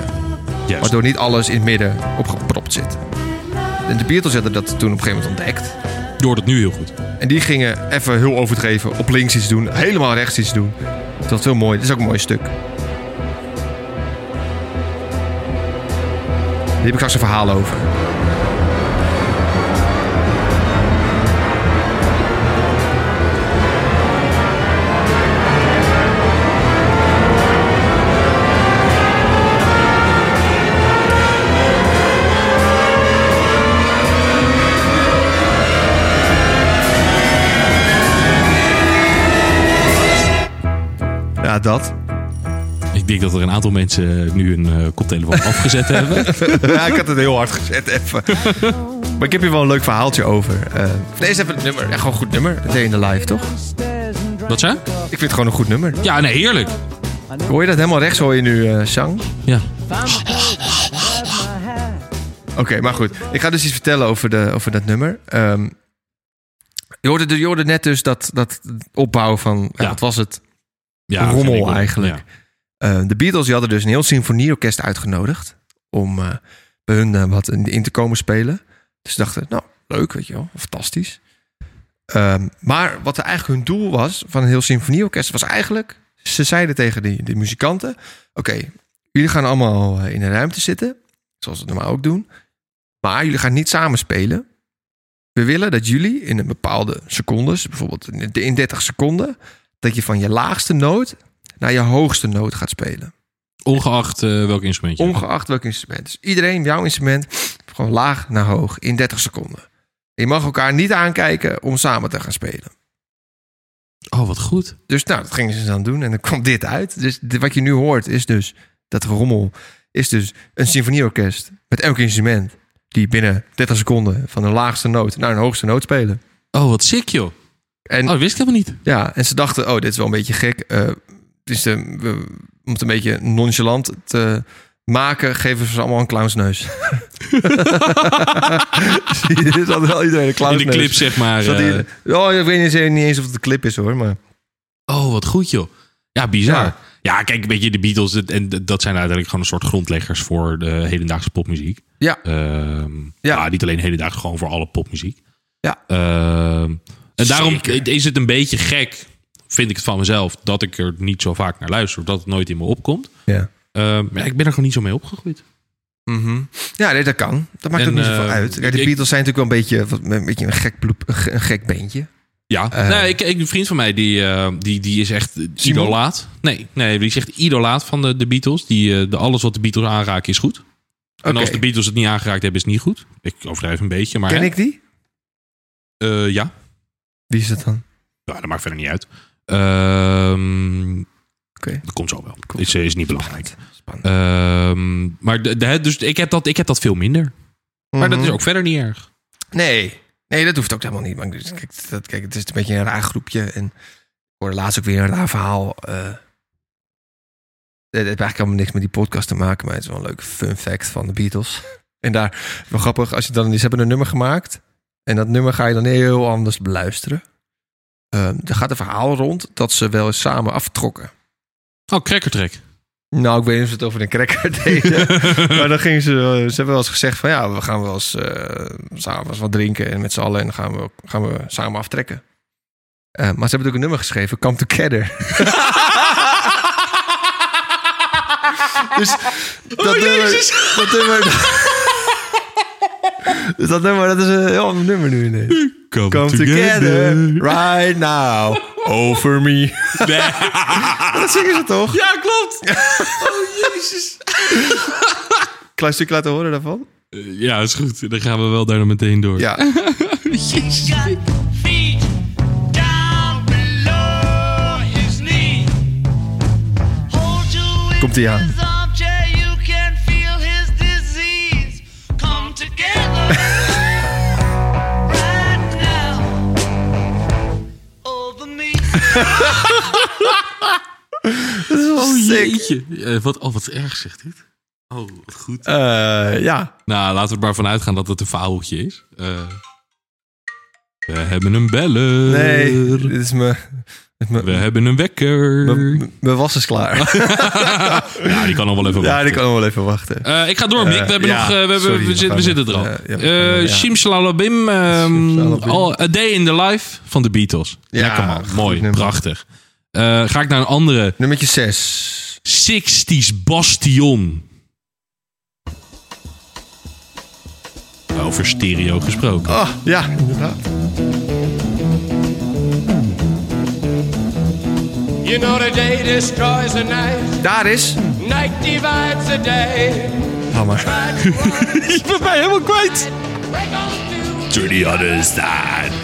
Speaker 1: Juist.
Speaker 2: waardoor niet alles in het midden opgepropt zit. En de Beatles hadden dat toen op een gegeven moment ontdekt.
Speaker 1: Je hoort het nu heel goed.
Speaker 2: En die gingen even heel overdreven op links iets doen, helemaal rechts iets doen. Dus Dat is heel mooi. Dat is ook een mooi stuk. Hier heb ik straks een verhaal over. Ja, dat.
Speaker 1: Ik denk dat er een aantal mensen nu een eh,
Speaker 2: [laughs]
Speaker 1: koptelefoon afgezet hebben.
Speaker 2: ja, ik had het heel hard gezet even. maar ik heb hier wel een leuk verhaaltje over. Eh nee, is even het nummer. Echt gewoon een goed nummer. Het in de live, toch?
Speaker 1: Wat zijn?
Speaker 2: Ik vind het gewoon een goed nummer.
Speaker 1: Ja, nee, heerlijk.
Speaker 2: Hoor je dat helemaal rechts? Hoor je nu eh zang?
Speaker 1: Ja.
Speaker 2: Oké, maar goed. Ik ga dus iets vertellen over, de, over dat nummer. Ehm, je, hoorde, de- je hoorde net dus dat, dat opbouw van... eh,
Speaker 1: Ja.
Speaker 2: Wat was het?
Speaker 1: ja
Speaker 2: Rommel
Speaker 1: vind ik wel.
Speaker 2: eigenlijk.
Speaker 1: Ja.
Speaker 2: Eh, de Beatles die hadden dus een heel symfonieorkest uitgenodigd. Om eh, bij hun eh, wat in, in te komen spelen. Dus ze dachten, nou, leuk, weet je wel. Fantastisch. Ehm, maar wat eigenlijk hun doel was van een heel symfonieorkest... was eigenlijk, ze zeiden tegen die, die muzikanten... Oké, jullie gaan allemaal eh, in een ruimte zitten. Zoals we het normaal ook doen. Maar jullie gaan niet samen spelen. We willen dat jullie in een bepaalde secondes, bijvoorbeeld in- in 30 seconden, dat je van je laagste noot naar je hoogste noot gaat spelen.
Speaker 1: Ongeacht eh, welk instrument je hebt.
Speaker 2: Ongeacht welk instrument. Dus iedereen, jouw instrument, gewoon laag naar hoog in 30 seconden. Je mag elkaar niet aankijken om samen te gaan spelen.
Speaker 1: Oh, wat goed.
Speaker 2: Dus nou, dat gingen ze dan doen en dan kwam dit uit. Dus di- wat je nu hoort is dus, dat rommel, is dus een symfonieorkest met elk instrument. Die binnen 30 seconden van een laagste noot naar een hoogste noot spelen.
Speaker 1: Oh, wat sick, joh.
Speaker 2: En
Speaker 1: Oh, dat wist ik helemaal niet.
Speaker 2: Ja, en ze dachten, oh, dit is wel een beetje gek. Eh, het is eh, we- om het een beetje nonchalant te maken, geven ze ze allemaal een clownsneus. [laughs] Zie je, dit is altijd wel iedereen een
Speaker 1: In
Speaker 2: clownsneus.
Speaker 1: de clip, zeg maar.
Speaker 2: Zat
Speaker 1: eh,
Speaker 2: hier- oh, ik weet niet- niet eens of het een clip is hoor, maar...
Speaker 1: Oh, wat goed joh. Ja, bizar. Ja,
Speaker 2: Ja.
Speaker 1: kijk, weet je, de Beatles, dat- en dat zijn uiteindelijk gewoon een soort grondleggers voor de hedendaagse popmuziek.
Speaker 2: Ja.
Speaker 1: Ehm, ja.
Speaker 2: Ja.
Speaker 1: niet alleen hedendaags, gewoon voor alle popmuziek.
Speaker 2: Ja.
Speaker 1: Ehm, en daarom
Speaker 2: Zeker.
Speaker 1: is het een beetje gek, vind ik het van mezelf, dat ik er niet zo vaak naar luister, of dat het nooit in me opkomt.
Speaker 2: Ja,
Speaker 1: Ehm, maar ja, ik ben er gewoon niet zo mee opgegroeid.
Speaker 2: ja nee, dat kan. Dat
Speaker 1: Mhm.
Speaker 2: maakt
Speaker 1: En,
Speaker 2: ook niet zoveel
Speaker 1: eh,
Speaker 2: uit. Kijk,
Speaker 1: ik-
Speaker 2: de Beatles zijn natuurlijk wel een beetje, wat- een, beetje een, gek bloep, een ge- een gek beentje.
Speaker 1: Ja,
Speaker 2: Eh.
Speaker 1: nee, ik, ik, een vriend van mij die, eh, die, die is echt idolaat. Nee, nee, die is echt idolaat van de, de Beatles. Die, eh, de, alles wat de Beatles aanraken is goed. En
Speaker 2: Oké.
Speaker 1: als de Beatles het niet aangeraakt hebben, is het niet goed. Ik overdrijf een beetje, maar...
Speaker 2: Ken
Speaker 1: hè?
Speaker 2: ik die?
Speaker 1: Eh, ja.
Speaker 2: Wie is dat dan?
Speaker 1: ja, dat maakt verder niet uit. Ehm,
Speaker 2: Oké.
Speaker 1: Dat komt zo wel.
Speaker 2: Komt
Speaker 1: Is, is niet belangrijk.
Speaker 2: Spannend.
Speaker 1: Ehm, maar de, de- dus ik, heb dat, ik heb dat veel minder. Maar dat is
Speaker 2: Mhm.
Speaker 1: ook verder niet erg.
Speaker 2: Nee, nee, dat hoeft ook helemaal niet. Maar ik- dus kijk, dat, kijk, het is een beetje een raar groepje. En ik hoorde laatst ook weer een raar verhaal. eh. het het heeft eigenlijk helemaal niks met die podcast te maken, maar het is wel een leuke fun fact van de Beatles. [laughs] En daar, wel grappig, als je dan, ze hebben een nummer gemaakt. En dat nummer ga je dan heel anders beluisteren. Ehm er gaat een verhaal rond dat ze wel eens samen aftrokken.
Speaker 1: Oh, crackertrek.
Speaker 2: Nou, ik weet niet of ze het over een cracker [laughs] deden. maar dan gingen ze, eh, ze hebben wel eens gezegd van ja, we gaan wel eens eh, samen wel eens wat drinken en met z'n allen en dan gaan we, gaan we samen aftrekken. Eh, maar ze hebben natuurlijk een nummer geschreven, Come Together. dus dat nummer, dat nummer, [laughs] dus dat nummer, dat is een heel ander nummer nu ineens.
Speaker 1: Come,
Speaker 2: Come together, right now, over me. [laughs] dat zingen ze toch?
Speaker 1: Ja, klopt.
Speaker 2: [laughs]
Speaker 1: Oh, jezus.
Speaker 2: Klein stukje laten horen daarvan.
Speaker 1: Eh, Ja, is goed. Dan gaan we wel daar dan meteen door.
Speaker 2: Ja.
Speaker 6: Feet down below his knee. Hold you in
Speaker 2: Komt ie aan.
Speaker 6: his armchair, you can feel his disease. Come
Speaker 7: [laughs]
Speaker 6: together right now over me.
Speaker 1: Oh,
Speaker 2: Sick.
Speaker 1: jeetje. Eh, wat, oh, wat erg zegt dit. Oh, wat goed.
Speaker 2: Eh, ja.
Speaker 1: Nou, laten we er maar van uitgaan dat het een faaltje is. Eh, we hebben een beller.
Speaker 2: Nee, dit is mijn... dit is mijn-
Speaker 1: We hebben een wekker.
Speaker 2: mijn- mijn- Mijn was is klaar.
Speaker 1: Ja, die kan nog wel even
Speaker 2: [laughs] ja,
Speaker 1: wachten.
Speaker 2: die kan nog wel even wachten.
Speaker 1: Eh, ik ga door, Mick. We, hebben
Speaker 2: Eh,
Speaker 1: nog,
Speaker 2: ja,
Speaker 1: eh, we, hebben,
Speaker 2: sorry,
Speaker 1: we,
Speaker 2: we
Speaker 1: zit- we
Speaker 2: gaan
Speaker 1: zitten er al.
Speaker 2: nog, eh, ja, we gaan
Speaker 1: Eh
Speaker 2: nog, ja.
Speaker 1: Shimshalalabim, ehm,
Speaker 2: Shimshalalabim.
Speaker 1: al- A Day in the Life van de Beatles.
Speaker 2: Ja,
Speaker 1: Lekker man,
Speaker 2: goed
Speaker 1: mooi,
Speaker 2: nummer.
Speaker 1: prachtig. Eh, ga ik naar een andere
Speaker 2: Nummertje 6.
Speaker 1: 60s bastion. Over stereo gesproken.
Speaker 2: Oh, ja, inderdaad.
Speaker 7: You know the day destroys the night,
Speaker 2: Daar is...
Speaker 7: night divides the day.
Speaker 2: Hammer.
Speaker 1: Ik ben mij helemaal kwijt. To the other side.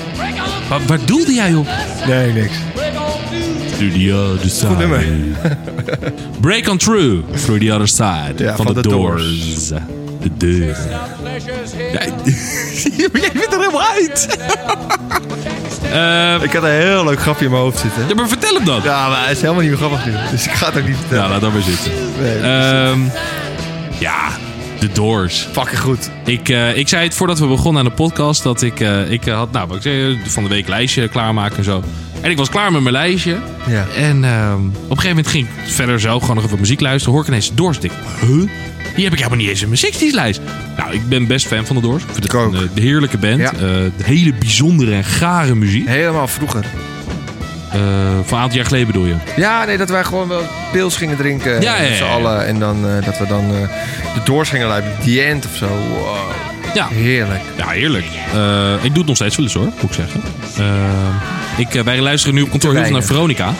Speaker 1: Waar, waar doelde jij op?
Speaker 2: Nee, niks.
Speaker 1: To the other side.
Speaker 2: Goed nummer.
Speaker 1: [laughs] Break on through. Through the other side.
Speaker 2: Ja,
Speaker 1: van,
Speaker 2: van
Speaker 1: de,
Speaker 2: de
Speaker 1: doors. De deur. Ja, [laughs] jij bent er helemaal uit. Eh,
Speaker 2: Ik had een heel leuk grapje in mijn hoofd zitten.
Speaker 1: ja, maar vertel hem dan.
Speaker 2: Ja, maar het is helemaal niet meer grappig nu. Dus ik ga het ook niet
Speaker 1: Ja,
Speaker 2: vertellen.
Speaker 1: laat dat maar zitten.
Speaker 2: Nee,
Speaker 1: Ehm, ja, de doors.
Speaker 2: fucking goed.
Speaker 1: Ik, eh, ik zei het voordat we begonnen aan de podcast dat ik, eh, ik eh, had nou, wat ik zei, van de week lijstje klaarmaken en zo. En ik was klaar met mijn lijstje.
Speaker 2: Ja.
Speaker 1: En ehm, op een gegeven moment ging ik verder zelf gewoon nog even muziek luisteren. Hoor ik ineens de Doors. Ik Denk, huh? Die heb ik helemaal niet eens in mijn 60s lijst. Nou, ik ben best fan van de Doors. Ik vind het
Speaker 2: Ik ook.
Speaker 1: een eh, heerlijke band.
Speaker 2: Ja.
Speaker 1: Eh, hele bijzondere en gare muziek.
Speaker 2: Helemaal vroeger.
Speaker 1: Eh, van een aantal jaar geleden bedoel je?
Speaker 2: Ja, nee, dat wij gewoon wel pils gingen drinken
Speaker 1: Ja, ja,
Speaker 2: met z'n
Speaker 1: ja.
Speaker 2: allen. En dan, eh, dat we dan eh, de doors gingen luiden. The End of zo. Wow.
Speaker 1: Ja.
Speaker 2: Heerlijk.
Speaker 1: Ja, heerlijk. Eh, ik doe het nog steeds wel eens hoor, moet ik zeggen. Eh, ik, eh, wij luisteren nu op kantoor heel veel naar
Speaker 2: weinig.
Speaker 1: Veronica.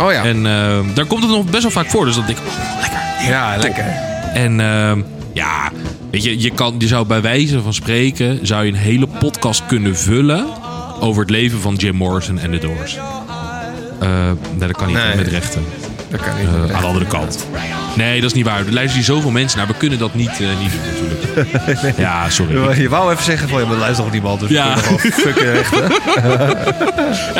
Speaker 2: Oh ja.
Speaker 1: En eh, daar komt het nog best wel vaak voor. Dus dat denk ik, oh, lekker.
Speaker 2: ja, lekker.
Speaker 1: En ehm, ja, weet je, je, kan, je zou bij wijze van spreken... zou je een hele podcast kunnen vullen... over het leven van Jim Morrison en de Doors. Eh, nee, dat kan niet
Speaker 2: Nee.
Speaker 1: met rechten.
Speaker 2: Dat kan niet.
Speaker 1: Eh, aan de andere kant. Nee, dat is niet waar. Er luisteren hier zoveel mensen naar. We kunnen dat niet, eh, niet doen natuurlijk.
Speaker 2: [laughs]
Speaker 1: Ja, sorry.
Speaker 2: Je wou even zeggen van, ja, maar luister nog niemand. Dus
Speaker 1: Ja. [laughs]
Speaker 2: ja. Gewoon fucking echt, hè?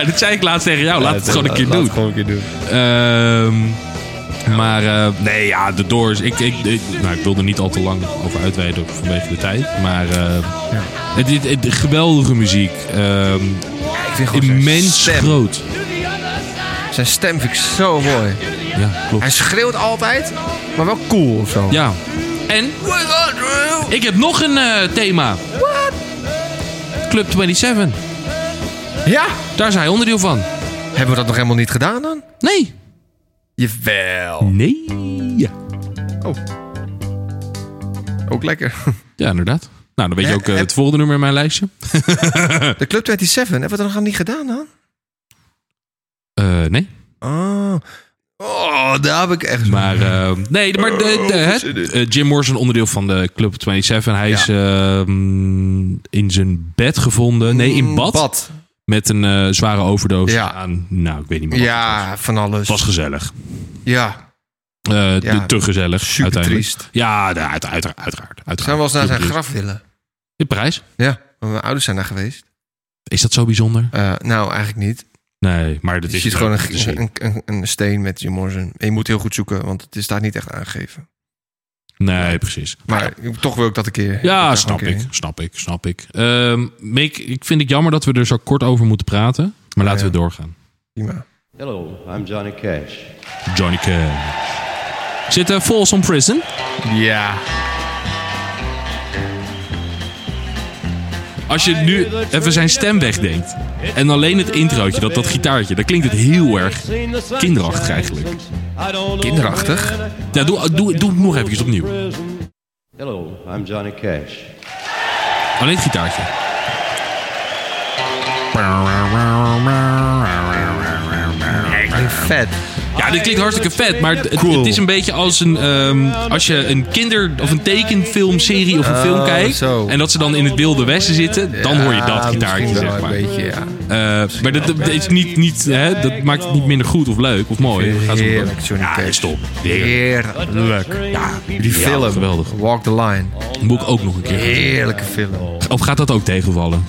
Speaker 1: Ja, dat zei ik laatst tegen jou. Laat het
Speaker 2: Ja,
Speaker 1: gewoon een
Speaker 2: laat-
Speaker 1: keer
Speaker 2: laat
Speaker 1: doen.
Speaker 2: het gewoon een keer doen.
Speaker 1: Ehm, maar eh, nee, ja, de Doors. Ik, ik, ik, nou, ik wil er niet al te lang over uitweiden vanwege de tijd. Maar eh, het, het, het- geweldige muziek. ehm,
Speaker 2: Ik vind gewoon zijn
Speaker 1: immens
Speaker 2: stem.
Speaker 1: groot.
Speaker 2: Zijn stem vind ik zo mooi.
Speaker 1: Ja,
Speaker 2: Hij
Speaker 1: klopt.
Speaker 2: schreeuwt altijd, maar wel cool of zo.
Speaker 1: Ja. En ik heb nog een eh, thema. Club 27.
Speaker 2: Ja?
Speaker 1: Daar is hij onderdeel van.
Speaker 2: Hebben we dat nog helemaal niet gedaan dan?
Speaker 1: Nee.
Speaker 2: Jawel.
Speaker 1: Nee. Ja.
Speaker 2: Ook
Speaker 1: [laughs]
Speaker 2: lekker.
Speaker 1: Ja, inderdaad. Nou, dan weet je
Speaker 2: Hè?
Speaker 1: ook eh,
Speaker 2: Heb-
Speaker 1: het volgende nummer in mijn lijstje.
Speaker 2: De Club 27, hebben we dat nog niet gedaan dan?
Speaker 1: Eh, nee.
Speaker 2: Oh. Oh, daar heb ik echt...
Speaker 1: Maar eh, nee, maar de, de- het, eh, Jim Morrison, onderdeel van de Club 27. Hij is eh, mm, in zijn bed gevonden. Nee, in bad.
Speaker 2: Bad.
Speaker 1: Met een eh, zware overdosis
Speaker 2: Ja.
Speaker 1: aan. Nou, ik weet niet meer. wat het was.
Speaker 2: Ja, van alles.
Speaker 1: Het was gezellig.
Speaker 2: Ja.
Speaker 1: Eh,
Speaker 2: Ja,
Speaker 1: te gezellig.
Speaker 2: super
Speaker 1: uiteindelijk.
Speaker 2: triest.
Speaker 1: Ja, de- uit, uiteraard, uiteraard. uiteraard.
Speaker 2: Zou we wel eens naar
Speaker 1: Super
Speaker 2: zijn
Speaker 1: triest.
Speaker 2: graf willen?
Speaker 1: In Parijs?
Speaker 2: Ja, want mijn ouders zijn daar geweest.
Speaker 1: Is dat zo bijzonder?
Speaker 2: Eh, nou, eigenlijk niet.
Speaker 1: Nee, maar dat
Speaker 2: Je
Speaker 1: is...
Speaker 2: ziet gewoon
Speaker 1: dat is-
Speaker 2: een, een, een, een steen met Jim Morrison. En je moet heel goed zoeken, want het is daar niet echt aangegeven.
Speaker 1: Nee, precies.
Speaker 2: Maar toch wil ik dat een keer.
Speaker 1: Ja,
Speaker 2: dat
Speaker 1: snap
Speaker 2: een keer
Speaker 1: ik, snap ik, snap ik. Ehm, Mick, ik vind het jammer dat we er zo kort over moeten praten. Maar laten
Speaker 2: ja.
Speaker 1: we doorgaan.
Speaker 2: Prima.
Speaker 8: Hello, I'm Johnny Cash.
Speaker 1: Johnny Cash. Zit er Folsom Prison?
Speaker 2: Ja.
Speaker 1: Als je nu even zijn stem wegdenkt. En alleen het introotje, dat, dat gitaartje, dan klinkt het heel erg kinderachtig eigenlijk.
Speaker 2: Kinderachtig?
Speaker 1: Ja, doe, doe, doe het nog even opnieuw.
Speaker 8: Hello, I'm Johnny Cash.
Speaker 1: Alleen het gitaartje.
Speaker 2: Vet.
Speaker 1: Ja, dit klinkt hartstikke vet, maar het,
Speaker 2: Cool.
Speaker 1: het is een beetje als een. ehm, als je een kinder- of een tekenfilmserie of een film kijkt.
Speaker 2: Oh, zo.
Speaker 1: en dat ze dan in het Wilde Westen zitten, dan hoor je dat
Speaker 2: Ja,
Speaker 1: gitaartje,
Speaker 2: misschien wel
Speaker 1: zeg maar.
Speaker 2: Een beetje, ja.
Speaker 1: Eh, maar dat, dat is niet, niet, hè, dat maakt het niet minder goed of leuk of mooi. Het gaat om-
Speaker 2: Heerlijk, Johnny
Speaker 1: ja,
Speaker 2: Cash.
Speaker 1: stop. Heerlijk.
Speaker 2: Heerlijk.
Speaker 1: Ja,
Speaker 2: Die film.
Speaker 1: Geweldig.
Speaker 2: Walk the Line.
Speaker 1: Moet ik ook nog een keer. gaan doen.
Speaker 2: Heerlijke film.
Speaker 1: Of gaat dat ook tegenvallen?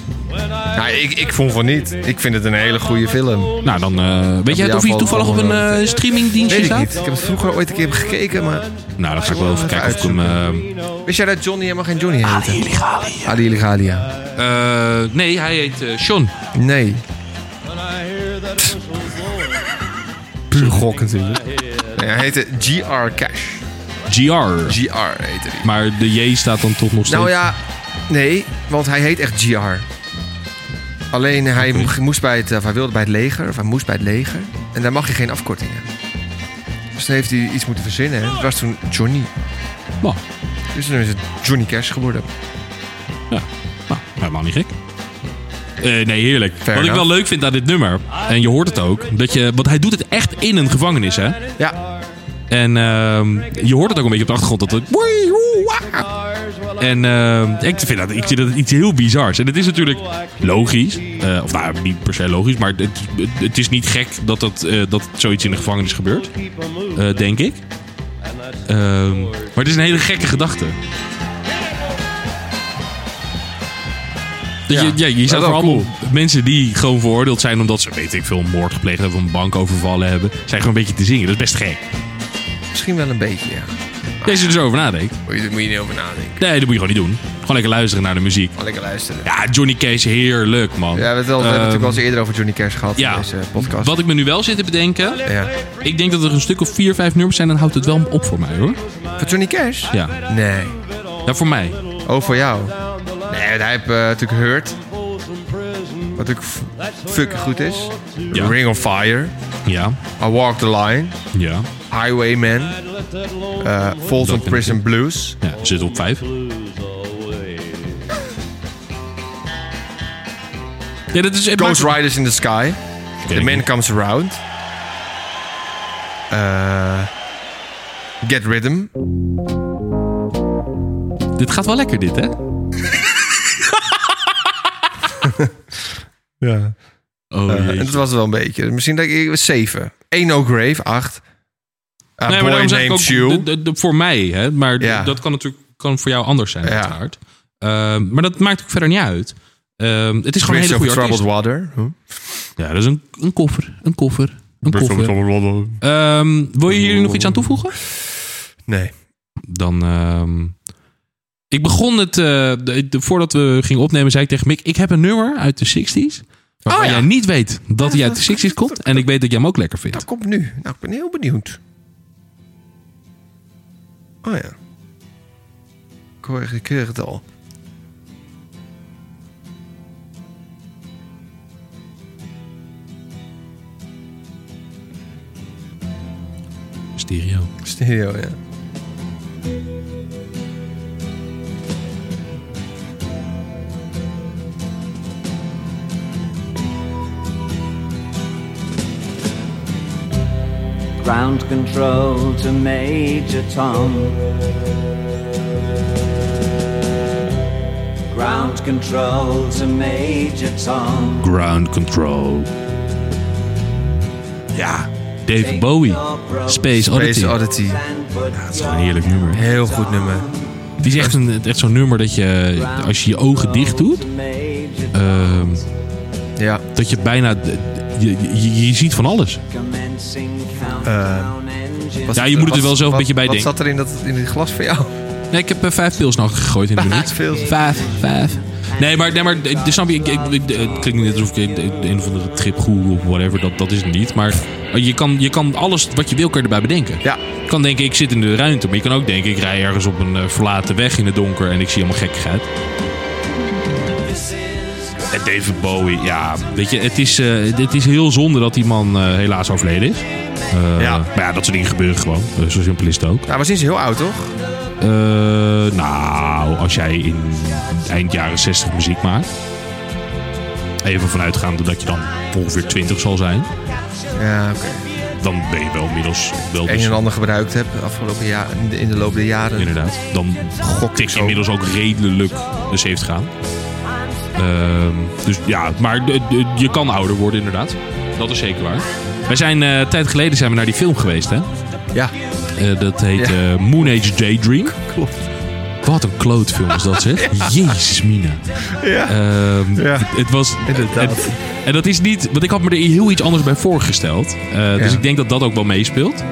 Speaker 2: Nou, ik, ik vond van niet. Ik vind het een hele goede film.
Speaker 1: Nou, dan. eh, weet jij
Speaker 2: jou
Speaker 1: of hij
Speaker 2: valt
Speaker 1: toevallig op
Speaker 2: het
Speaker 1: een
Speaker 2: allemaal
Speaker 1: eh, streamingdienstje
Speaker 2: Weet ik
Speaker 1: staat?
Speaker 2: niet. Ik heb het vroeger ooit een keer gekeken, maar...
Speaker 1: Nou, dan ga ik wel even kijken of ik hem.
Speaker 2: Wist jij dat Johnny helemaal geen Johnny heette? Ali Illegalia. Ali Illegalia.
Speaker 1: eh, eh, nee, hij heet eh, Sean.
Speaker 2: Nee. Puur gok natuurlijk. Nee, hij heette G.R. Cash.
Speaker 1: GR.
Speaker 2: G.R. heette hij.
Speaker 1: Maar de J staat dan toch nog steeds.
Speaker 2: Nou ja, nee, want hij heet echt GR. Alleen hij mo- moest bij het, of hij wilde bij het leger, of hij moest bij het leger. En daar mag je geen afkortingen. Dus dan heeft hij iets moeten verzinnen. hè. Het was toen Johnny.
Speaker 1: Nou,
Speaker 2: Dus toen is het Johnny Cash geworden.
Speaker 1: ja. nou, helemaal niet gek. Eh, nee, heerlijk. Wat ik
Speaker 2: enough.
Speaker 1: wel leuk vind aan dit nummer, en je hoort het ook, dat je, want hij doet het echt in een gevangenis, hè?
Speaker 2: Ja.
Speaker 1: En ehm, je hoort het ook een beetje op de achtergrond. Dat het... Woei, woe, wa. En ehm, ik, vind dat, ik vind dat iets heel bizars. En het is natuurlijk logisch. eh, of nou, niet per se logisch. Maar het, het, het is niet gek dat, dat, eh, dat zoiets in de gevangenis gebeurt. eh, denk ik. Ehm, maar het is een hele gekke gedachte. Dat je,
Speaker 2: Ja,
Speaker 1: ja, je
Speaker 2: maar
Speaker 1: zou
Speaker 2: wel
Speaker 1: voor allemaal mensen die gewoon veroordeeld zijn omdat ze, weet ik veel, een moord gepleegd hebben of een bank overvallen hebben, zijn gewoon een beetje te zingen. Dat is best gek.
Speaker 2: Misschien wel een beetje, ja.
Speaker 1: Als je er zo over nadenkt.
Speaker 2: Moet je, moet je niet over nadenken.
Speaker 1: Nee, dat moet je gewoon niet doen. Gewoon lekker luisteren naar de muziek.
Speaker 2: Maar lekker luisteren.
Speaker 1: Ja, Johnny Case, heerlijk man.
Speaker 2: Ja, we hebben het wel- we hebben het
Speaker 1: Ehm,
Speaker 2: natuurlijk wel eens eerder over Johnny Cash gehad
Speaker 1: ja.
Speaker 2: in deze podcast.
Speaker 1: Wat ik me nu wel zit te bedenken.
Speaker 2: Ja.
Speaker 1: Ik denk dat er een stuk of vier, vijf nummers zijn. Dan houdt het wel op voor mij hoor.
Speaker 2: Voor Johnny Cash?
Speaker 1: Ja,
Speaker 2: Nee.
Speaker 1: ja voor mij.
Speaker 2: Oh, voor jou? Nee, hij heeft eh, natuurlijk Hurt. Wat ook f- fucking goed is.
Speaker 1: Ja.
Speaker 2: Ring of Fire.
Speaker 1: Ja,
Speaker 2: I Walk the Line.
Speaker 1: ja.
Speaker 2: Highwayman. eh Folsom
Speaker 1: ik
Speaker 2: Prison Blues.
Speaker 1: ja zit op vijf. Ja, dat is, het
Speaker 2: Ghost
Speaker 1: maakt-
Speaker 2: Riders in the Sky.
Speaker 1: Ken
Speaker 2: The
Speaker 1: ik
Speaker 2: Man
Speaker 1: niet.
Speaker 2: Comes Around. Eh, Get Rhythm.
Speaker 1: Dit gaat wel lekker, dit, hè?
Speaker 2: Ja.
Speaker 1: Oh, jeetje.
Speaker 2: Eh, en dat was wel een beetje. Misschien dat ik 7. 1 No Grave, 8. A
Speaker 1: nee, maar
Speaker 2: Boy
Speaker 1: daarom zeg ik
Speaker 2: Named
Speaker 1: ook de-
Speaker 2: You.
Speaker 1: de- de- voor mij, hè? maar d-
Speaker 2: Ja.
Speaker 1: dat kan natuurlijk kan voor jou anders zijn,
Speaker 2: Ja.
Speaker 1: uiteraard. Ehm, maar dat maakt ook verder niet uit. Ehm, het is gewoon een
Speaker 2: Bridge
Speaker 1: hele
Speaker 2: of
Speaker 1: goede artiest.
Speaker 2: Troubled Water. Huh?
Speaker 1: Ja, dat is een, een koffer, een koffer, een koffer. Ehm, wil je hier nog iets aan toevoegen?
Speaker 2: Nee.
Speaker 1: Dan. ehm, ik begon het. eh, de- de- voordat we gingen opnemen, zei ik tegen Mick: Ik heb een nummer uit de 60s. Waarvan
Speaker 2: Oh ja.
Speaker 1: jij niet weet dat hij uit de 60s komt. En ik weet dat jij hem ook lekker vindt.
Speaker 2: Dat komt nu. Nou, ik ben heel benieuwd. Oh ja. Ik hoor, ik hoor het al.
Speaker 1: Stereo.
Speaker 2: Stereo, ja.
Speaker 9: ground control to Major Tom. Ground control to Major Tom.
Speaker 1: Ground control. Ja, David
Speaker 9: Take
Speaker 1: Bowie.
Speaker 9: your broad
Speaker 1: Space Oddity.
Speaker 2: Space Oddity.
Speaker 9: and put
Speaker 1: Dat is gewoon een heerlijk nummer.
Speaker 2: Heel goed nummer.
Speaker 1: Het is echt, een, echt zo'n nummer dat je, als je je ogen dicht doet,
Speaker 9: to Major
Speaker 1: ehm,
Speaker 2: Ja.
Speaker 1: dat je bijna. d- d- Je, je, je ziet van alles.
Speaker 9: commencing
Speaker 6: uh,
Speaker 9: countdown engine.
Speaker 2: Wat-
Speaker 1: Ja, je moet het er wel
Speaker 2: wat-
Speaker 1: zelf een
Speaker 2: wat-
Speaker 1: beetje bij
Speaker 2: wat
Speaker 1: denken.
Speaker 2: zat er in dat, in het glas voor jou?
Speaker 1: Nee, ik heb eh, vijf pils nog gegooid in de minuut.
Speaker 2: Veel.
Speaker 1: Vijf, vijf. Nee, maar, nee, maar eh, de, snap je, ik, ik, ik- eh, het klinkt niet alsof ik de, de een of andere trip Google of whatever, dat, dat is het niet. Maar eh, je kan, je kan alles wat je wil, kan je erbij bedenken.
Speaker 2: Ja.
Speaker 1: Je kan denken, ik zit in de ruimte, maar je kan ook denken, ik rij ergens op een eh, verlaten weg in het donker en ik zie allemaal gekkigheid. En David Bowie, ja, weet je, het is, eh, het is heel zonde dat die man eh, helaas overleden is. Eh,
Speaker 2: Ja.
Speaker 1: Maar ja, dat soort dingen gebeuren gewoon. Eh, zo simpel is het ook.
Speaker 2: Nou, was is heel oud, toch?
Speaker 1: Eh, nou, als jij in eind jaren 60 muziek maakt. Even vanuitgaande dat je dan ongeveer 20 zal zijn.
Speaker 2: Ja, oké.
Speaker 1: Dan ben je wel inmiddels wel
Speaker 2: Een en
Speaker 1: dus-
Speaker 2: ander gebruikt heb de afgelopen jaar, in, de, in de loop der jaren.
Speaker 1: Inderdaad. Dan
Speaker 2: Gok ik
Speaker 1: tik je
Speaker 2: zo.
Speaker 1: inmiddels ook redelijk de 70 aan. Ehm, dus ja, maar de- de- je kan ouder worden inderdaad. Dat is zeker waar. Wij zijn eh, een tijd geleden zijn we naar die film geweest, hè?
Speaker 2: Ja.
Speaker 1: Eh, dat heet
Speaker 2: Ja.
Speaker 1: eh, Moon Age Daydream.
Speaker 2: Klopt.
Speaker 1: Wat een klootfilm is dat,
Speaker 2: [laughs]
Speaker 1: zeg. Jezus, Mina.
Speaker 2: Ja.
Speaker 1: Ehm,
Speaker 2: Ja.
Speaker 1: Het was...
Speaker 2: Inderdaad.
Speaker 1: het- en dat is niet... Want ik had me er heel iets anders bij voorgesteld. Eh, Dus
Speaker 2: Ja.
Speaker 1: ik denk dat dat ook wel meespeelt.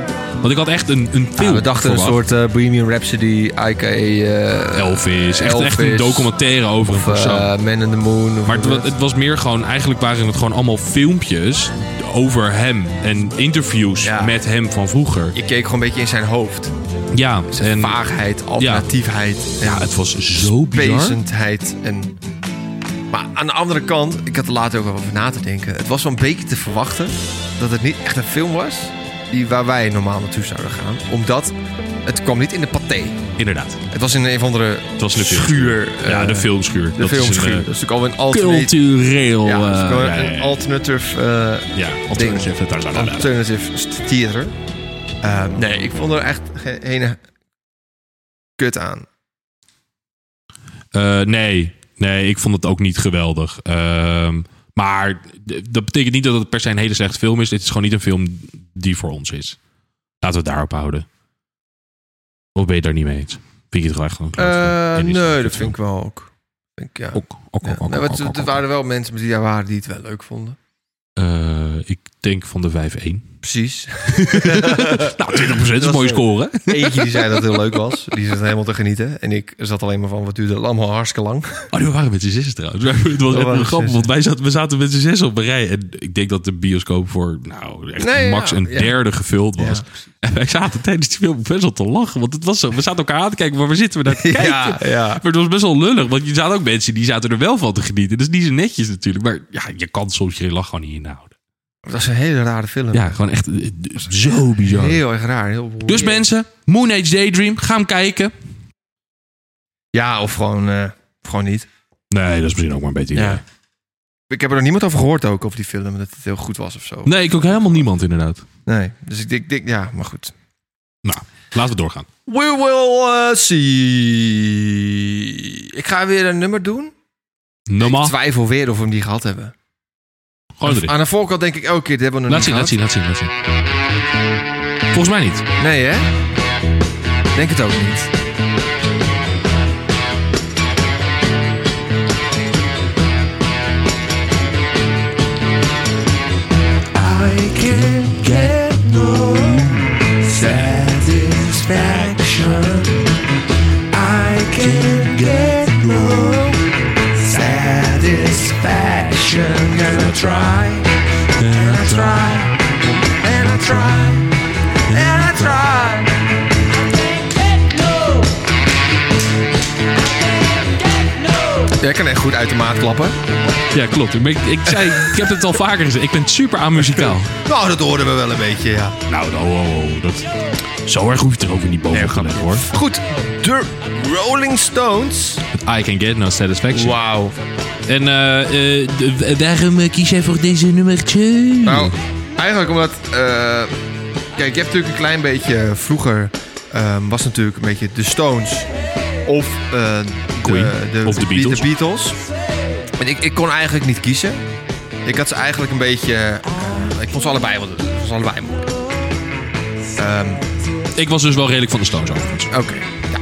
Speaker 1: Want ik had echt een, een film
Speaker 2: Ja, we dachten een
Speaker 1: verwacht.
Speaker 2: soort eh, Bohemian Rhapsody, a.k.a. eh,
Speaker 1: Elvis. Echt, echt een
Speaker 2: Elvis.
Speaker 1: documentaire over een
Speaker 2: of
Speaker 1: persoon.
Speaker 2: eh, Man in the Moon. of
Speaker 1: Maar het,
Speaker 2: hoe
Speaker 1: wa- het was meer gewoon, eigenlijk waren het gewoon allemaal filmpjes over hem. En interviews
Speaker 2: Ja.
Speaker 1: met hem van vroeger.
Speaker 2: Je keek gewoon een beetje in zijn hoofd.
Speaker 1: Ja,
Speaker 2: En,
Speaker 1: en
Speaker 2: Vaagheid, alternatiefheid.
Speaker 1: ja, het was zo bizar.
Speaker 2: bezendheid. En... Maar aan de andere kant, ik had er later ook wel over na te denken. Het was wel een beetje te verwachten dat het niet echt een film was die, waar wij normaal naartoe zouden gaan. Omdat het kwam niet in de paté.
Speaker 1: Inderdaad.
Speaker 2: Het was in een of andere
Speaker 1: Het was in de
Speaker 2: schuur.
Speaker 1: filmschuur. Ja,
Speaker 2: eh,
Speaker 1: de filmschuur.
Speaker 2: De
Speaker 1: dat
Speaker 2: filmschuur.
Speaker 1: Is
Speaker 2: dat
Speaker 1: een,
Speaker 2: is
Speaker 1: eh,
Speaker 2: natuurlijk al een alternatief.
Speaker 1: cultureel...
Speaker 2: Ja, dat is
Speaker 1: eh,
Speaker 2: gewoon
Speaker 1: ja, ja,
Speaker 2: een
Speaker 1: ja.
Speaker 2: alternative, eh,
Speaker 1: Ja,
Speaker 2: ding.
Speaker 1: alternative. daar, daar, daar, daar.
Speaker 2: alternative st- theater. Eh, nee, ik vond er echt geen ene kut aan.
Speaker 1: Eh, nee, nee, ik vond het ook niet geweldig. Ehm, maar d- dat betekent niet dat het per se een hele slechte film is. Dit is gewoon niet een film die voor ons is. Laten we het daarop houden. Of ben je daar niet mee eens? Vind je het wel echt gewoon
Speaker 2: Eh,
Speaker 1: een
Speaker 2: nee, dat vind ik wel ook. Ik, ja.
Speaker 1: Ook, ook,
Speaker 2: Ja,
Speaker 1: ook, ook,
Speaker 2: nou,
Speaker 1: ook,
Speaker 2: het-
Speaker 1: ook,
Speaker 2: er
Speaker 1: ook.
Speaker 2: waren wel mensen die daar waren die het wel leuk vonden.
Speaker 1: Eh, eh, ik denk van de 5-1.
Speaker 2: Precies.
Speaker 1: Nou, 20 procent is een
Speaker 2: Dat eh,
Speaker 1: mooie
Speaker 2: is leuk.
Speaker 1: score. hè?
Speaker 2: [laughs] Eentje die zei dat het heel leuk was. Die zat helemaal te genieten. En ik zat alleen maar van, wat duurde het allemaal hartstikke lang. [laughs]
Speaker 1: Oh, nee, we waren met z'n zessen trouwens. [laughs] Het was echt
Speaker 2: waren
Speaker 1: wel
Speaker 2: met
Speaker 1: grappig,
Speaker 2: z'n
Speaker 1: want wij zaten, we zaten met z'n zessen op een rij. En ik denk dat de bioscoop voor nou, echt
Speaker 2: Nee,
Speaker 1: max
Speaker 2: ja,
Speaker 1: een
Speaker 2: ja.
Speaker 1: derde gevuld was. En wij zaten tijdens die film best wel te lachen. Want het was zo, we zaten elkaar aan te kijken, maar waar zitten we naar te kijken?
Speaker 2: [laughs] Ja, ja.
Speaker 1: Maar het was best wel lullig, want je zaten ook mensen die zaten er wel van te genieten. Dus die zijn netjes natuurlijk. Maar ja, je kan soms je lach gewoon niet inhouden.
Speaker 2: Dat was een hele rare film.
Speaker 1: Ja, gewoon echt eh, zo bizar.
Speaker 2: Heel erg raar. Heel
Speaker 1: Dus
Speaker 2: weird.
Speaker 1: mensen, Moon Age Daydream, ga hem kijken.
Speaker 2: Ja, of gewoon, eh, gewoon niet.
Speaker 1: Nee, dat is misschien ook maar een beter idee.
Speaker 2: Ja. Ik heb er nog niemand over gehoord ook, over die film. Dat het heel goed was of zo.
Speaker 1: Nee, ik ook helemaal niemand inderdaad.
Speaker 2: Nee. Dus ik denk, denk- ja, maar goed.
Speaker 1: Nou, laten we doorgaan.
Speaker 2: We will eh, see. Ik ga weer een nummer doen.
Speaker 1: Normaal.
Speaker 2: Ik twijfel weer of we hem die gehad hebben.
Speaker 1: Gewoon erin.
Speaker 2: Aan de voorkant denk ik elke keer, dit hebben we nog
Speaker 1: Laat zien, laat
Speaker 2: niet
Speaker 1: zien, laat zien, laat zien. Volgens mij niet.
Speaker 2: gehad. Nee, hè? Denk het ook niet. Jij kan echt goed uit de maat klappen.
Speaker 1: Ja, klopt. Ik, ben- ik, zei, ik heb het al vaker gezegd. Ik ben super amuzikaal.
Speaker 2: Nou, dat hoorden we wel een beetje, ja.
Speaker 1: [laughs] Nou, nou, oh, oh, dat... Zo erg hoef je het er ook weer niet boven te leggen, hoor.
Speaker 2: Goed, de Rolling Stones.
Speaker 1: I can get no satisfaction.
Speaker 2: Wauw.
Speaker 1: En eh, eh, d- daarom eh, kies jij voor deze nummertje.
Speaker 2: Nou, eigenlijk omdat... eh, kijk, je hebt natuurlijk een klein beetje... Vroeger eh, was natuurlijk een beetje de Stones. Of eh,
Speaker 1: Queen. Of de Beatles.
Speaker 2: De Beatles. En ik, ik kon eigenlijk niet kiezen. Ik had ze eigenlijk een beetje... eh, ik vond ze allebei, wel- ik vond ze allebei moeilijk. Ehm,
Speaker 1: Ik was dus wel redelijk van de Stones overigens.
Speaker 2: Oké. Ja.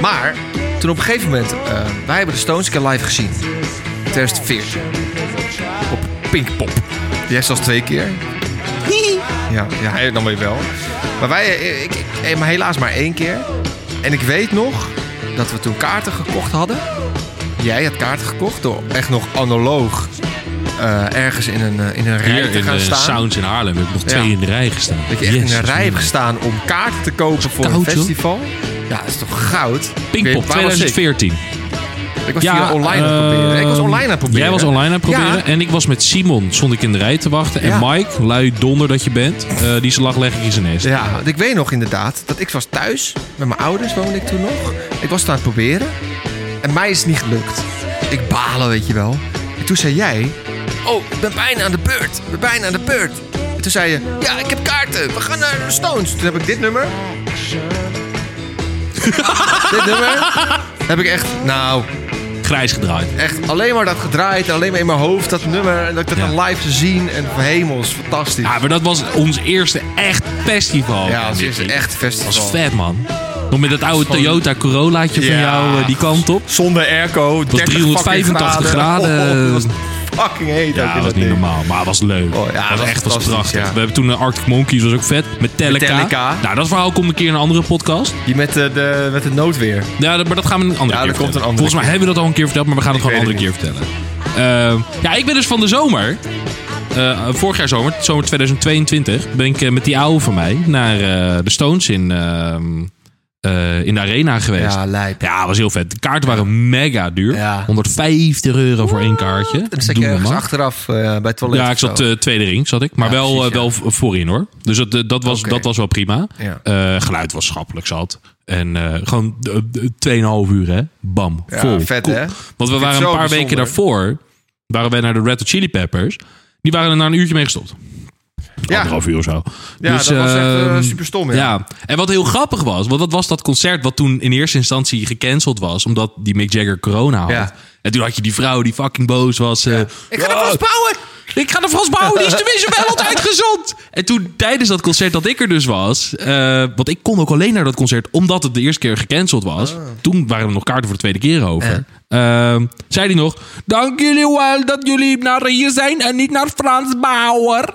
Speaker 2: Maar toen op een gegeven moment, eh, wij hebben de Stones een keer live gezien. 2014. Op Pinkpop. Jij zelfs twee keer. Ja, ja, hij dan weer wel. Maar wij, eh, ik, ik- eh, maar helaas maar één keer. En ik weet nog dat we toen kaarten gekocht hadden. Jij had kaarten gekocht door echt nog analoog eh, ergens in een, eh, in een rij
Speaker 1: Hier
Speaker 2: te
Speaker 1: in
Speaker 2: gaan
Speaker 1: de
Speaker 2: staan.
Speaker 1: Sounds in Haarlem heb ik nog
Speaker 2: Ja.
Speaker 1: twee in de rij gestaan.
Speaker 2: Dat je echt in
Speaker 1: Jezus,
Speaker 2: een rij hebt
Speaker 1: man.
Speaker 2: gestaan om kaarten te kopen voor
Speaker 1: koud,
Speaker 2: een
Speaker 1: joh.
Speaker 2: festival. Ja, dat is toch goud? Ik
Speaker 1: Pinkpop
Speaker 2: weet- waar was ik?
Speaker 1: 2014.
Speaker 2: Ik was hier online aan het
Speaker 1: eh,
Speaker 2: proberen. Ik was online aan het proberen.
Speaker 1: Jij was online aan het proberen.
Speaker 2: Ja.
Speaker 1: En ik was met Simon, stond ik in de rij te wachten. En
Speaker 2: Ja.
Speaker 1: Mike, lui donder dat je bent, eh, die zijn lach leg ik in zijn nest.
Speaker 2: Ja, want ik weet nog inderdaad dat ik was thuis. Met mijn ouders woonde ik toen nog. Ik was het aan het proberen. En mij is het niet gelukt. Ik balen, weet je wel. En toen zei jij... Oh, ik ben bijna aan de beurt. Ik ben bijna aan de beurt. En toen zei je... Ja, ik heb kaarten. We gaan naar de Stones. Toen heb ik dit nummer. [laughs] dit nummer. Heb ik echt... Nou,
Speaker 1: Grijs gedraaid.
Speaker 2: echt alleen maar dat gedraaid. En alleen maar in mijn hoofd dat nummer. En dat ik dat
Speaker 1: Ja.
Speaker 2: dan live te zien. En van hemels, fantastisch.
Speaker 1: Ja, maar dat was ons eerste echt festival.
Speaker 2: Ja, als
Speaker 1: Mickey.
Speaker 2: eerste echt festival.
Speaker 1: Dat was vet, man. Nog met dat oude
Speaker 2: Gewoon-
Speaker 1: Toyota Corollaatje van
Speaker 2: Ja.
Speaker 1: jou eh, die kant op.
Speaker 2: Zonder airco. Het
Speaker 1: was 385 graden. eh.
Speaker 2: Oh, het was fucking heet. ook
Speaker 1: Ja,
Speaker 2: in
Speaker 1: dat was niet
Speaker 2: ding.
Speaker 1: normaal, maar het was leuk.
Speaker 2: Oh, ja,
Speaker 1: ja,
Speaker 2: dat
Speaker 1: was
Speaker 2: was
Speaker 1: echt was
Speaker 2: fantastisch,
Speaker 1: prachtig.
Speaker 2: ja.
Speaker 1: We hebben toen eh, Arctic Monkeys, was ook vet. Metallica.
Speaker 2: Metallica.
Speaker 1: Nou, dat verhaal komt een keer in een andere podcast.
Speaker 2: Die met, eh, de, met het noodweer.
Speaker 1: Ja, dat- maar dat gaan we een andere
Speaker 2: Ja,
Speaker 1: keer
Speaker 2: dat komt
Speaker 1: vertellen.
Speaker 2: een andere
Speaker 1: Volgens mij
Speaker 2: keer.
Speaker 1: hebben we dat al een keer verteld, maar we gaan het
Speaker 2: Ik
Speaker 1: gewoon een andere
Speaker 2: weet
Speaker 1: keer vertellen. Eh, ja, ik ben dus van de zomer. eh, vorig jaar zomer, zomer 2022, ben ik eh, met die oude van mij naar eh, de Stones in, eh, eh, in de arena geweest.
Speaker 2: Ja,
Speaker 1: Ja.
Speaker 2: lijp.
Speaker 1: was heel vet. De kaarten waren mega duur.
Speaker 2: Ja.
Speaker 1: 150 euro voor één kaartje.
Speaker 2: Dan zat
Speaker 1: Doe
Speaker 2: je
Speaker 1: normaal.
Speaker 2: ergens achteraf eh, bij het toilet.
Speaker 1: Ja, ik
Speaker 2: of zo.
Speaker 1: zat eh, tweede ring, zat ik. Maar
Speaker 2: Ja,
Speaker 1: wel,
Speaker 2: precies,
Speaker 1: eh, wel v- voorin hoor. Dus dat, eh, dat, was,
Speaker 2: Oké.
Speaker 1: dat was wel prima.
Speaker 2: Ja.
Speaker 1: Eh, geluid was schappelijk zat. En eh, gewoon eh, eh, 2,5 uur hè. Bam.
Speaker 2: Ja,
Speaker 1: vol.
Speaker 2: vet,
Speaker 1: Cool.
Speaker 2: hè?
Speaker 1: Want we
Speaker 2: het
Speaker 1: waren een
Speaker 2: zo
Speaker 1: paar weken
Speaker 2: bijzonder.
Speaker 1: daarvoor. waren wij naar de Red Hot Chili Peppers. Die waren er na een uurtje mee gestopt.
Speaker 2: Ja.
Speaker 1: Anderhalf uur of zo.
Speaker 2: Ja, dat was echt eh,
Speaker 1: ehm,
Speaker 2: super stom. Ja.
Speaker 1: ja, en wat heel grappig was, want dat was dat concert wat toen in eerste instantie gecanceld was, omdat die Mick Jagger corona had.
Speaker 2: Ja.
Speaker 1: En toen had je die vrouw die fucking boos was. eh,
Speaker 2: Ik ga ervan spouwen.
Speaker 1: Ik ga naar Frans Bauer, die is tenminste [laughs] wel altijd gezond. En toen tijdens dat concert dat ik er dus was... eh, want ik kon ook alleen naar dat concert omdat het de eerste keer gecanceld was. Toen waren er nog kaarten voor de tweede keer over. Ehm, zei hij nog... Dank jullie wel dat jullie naar hier zijn en niet naar Frans Bauer.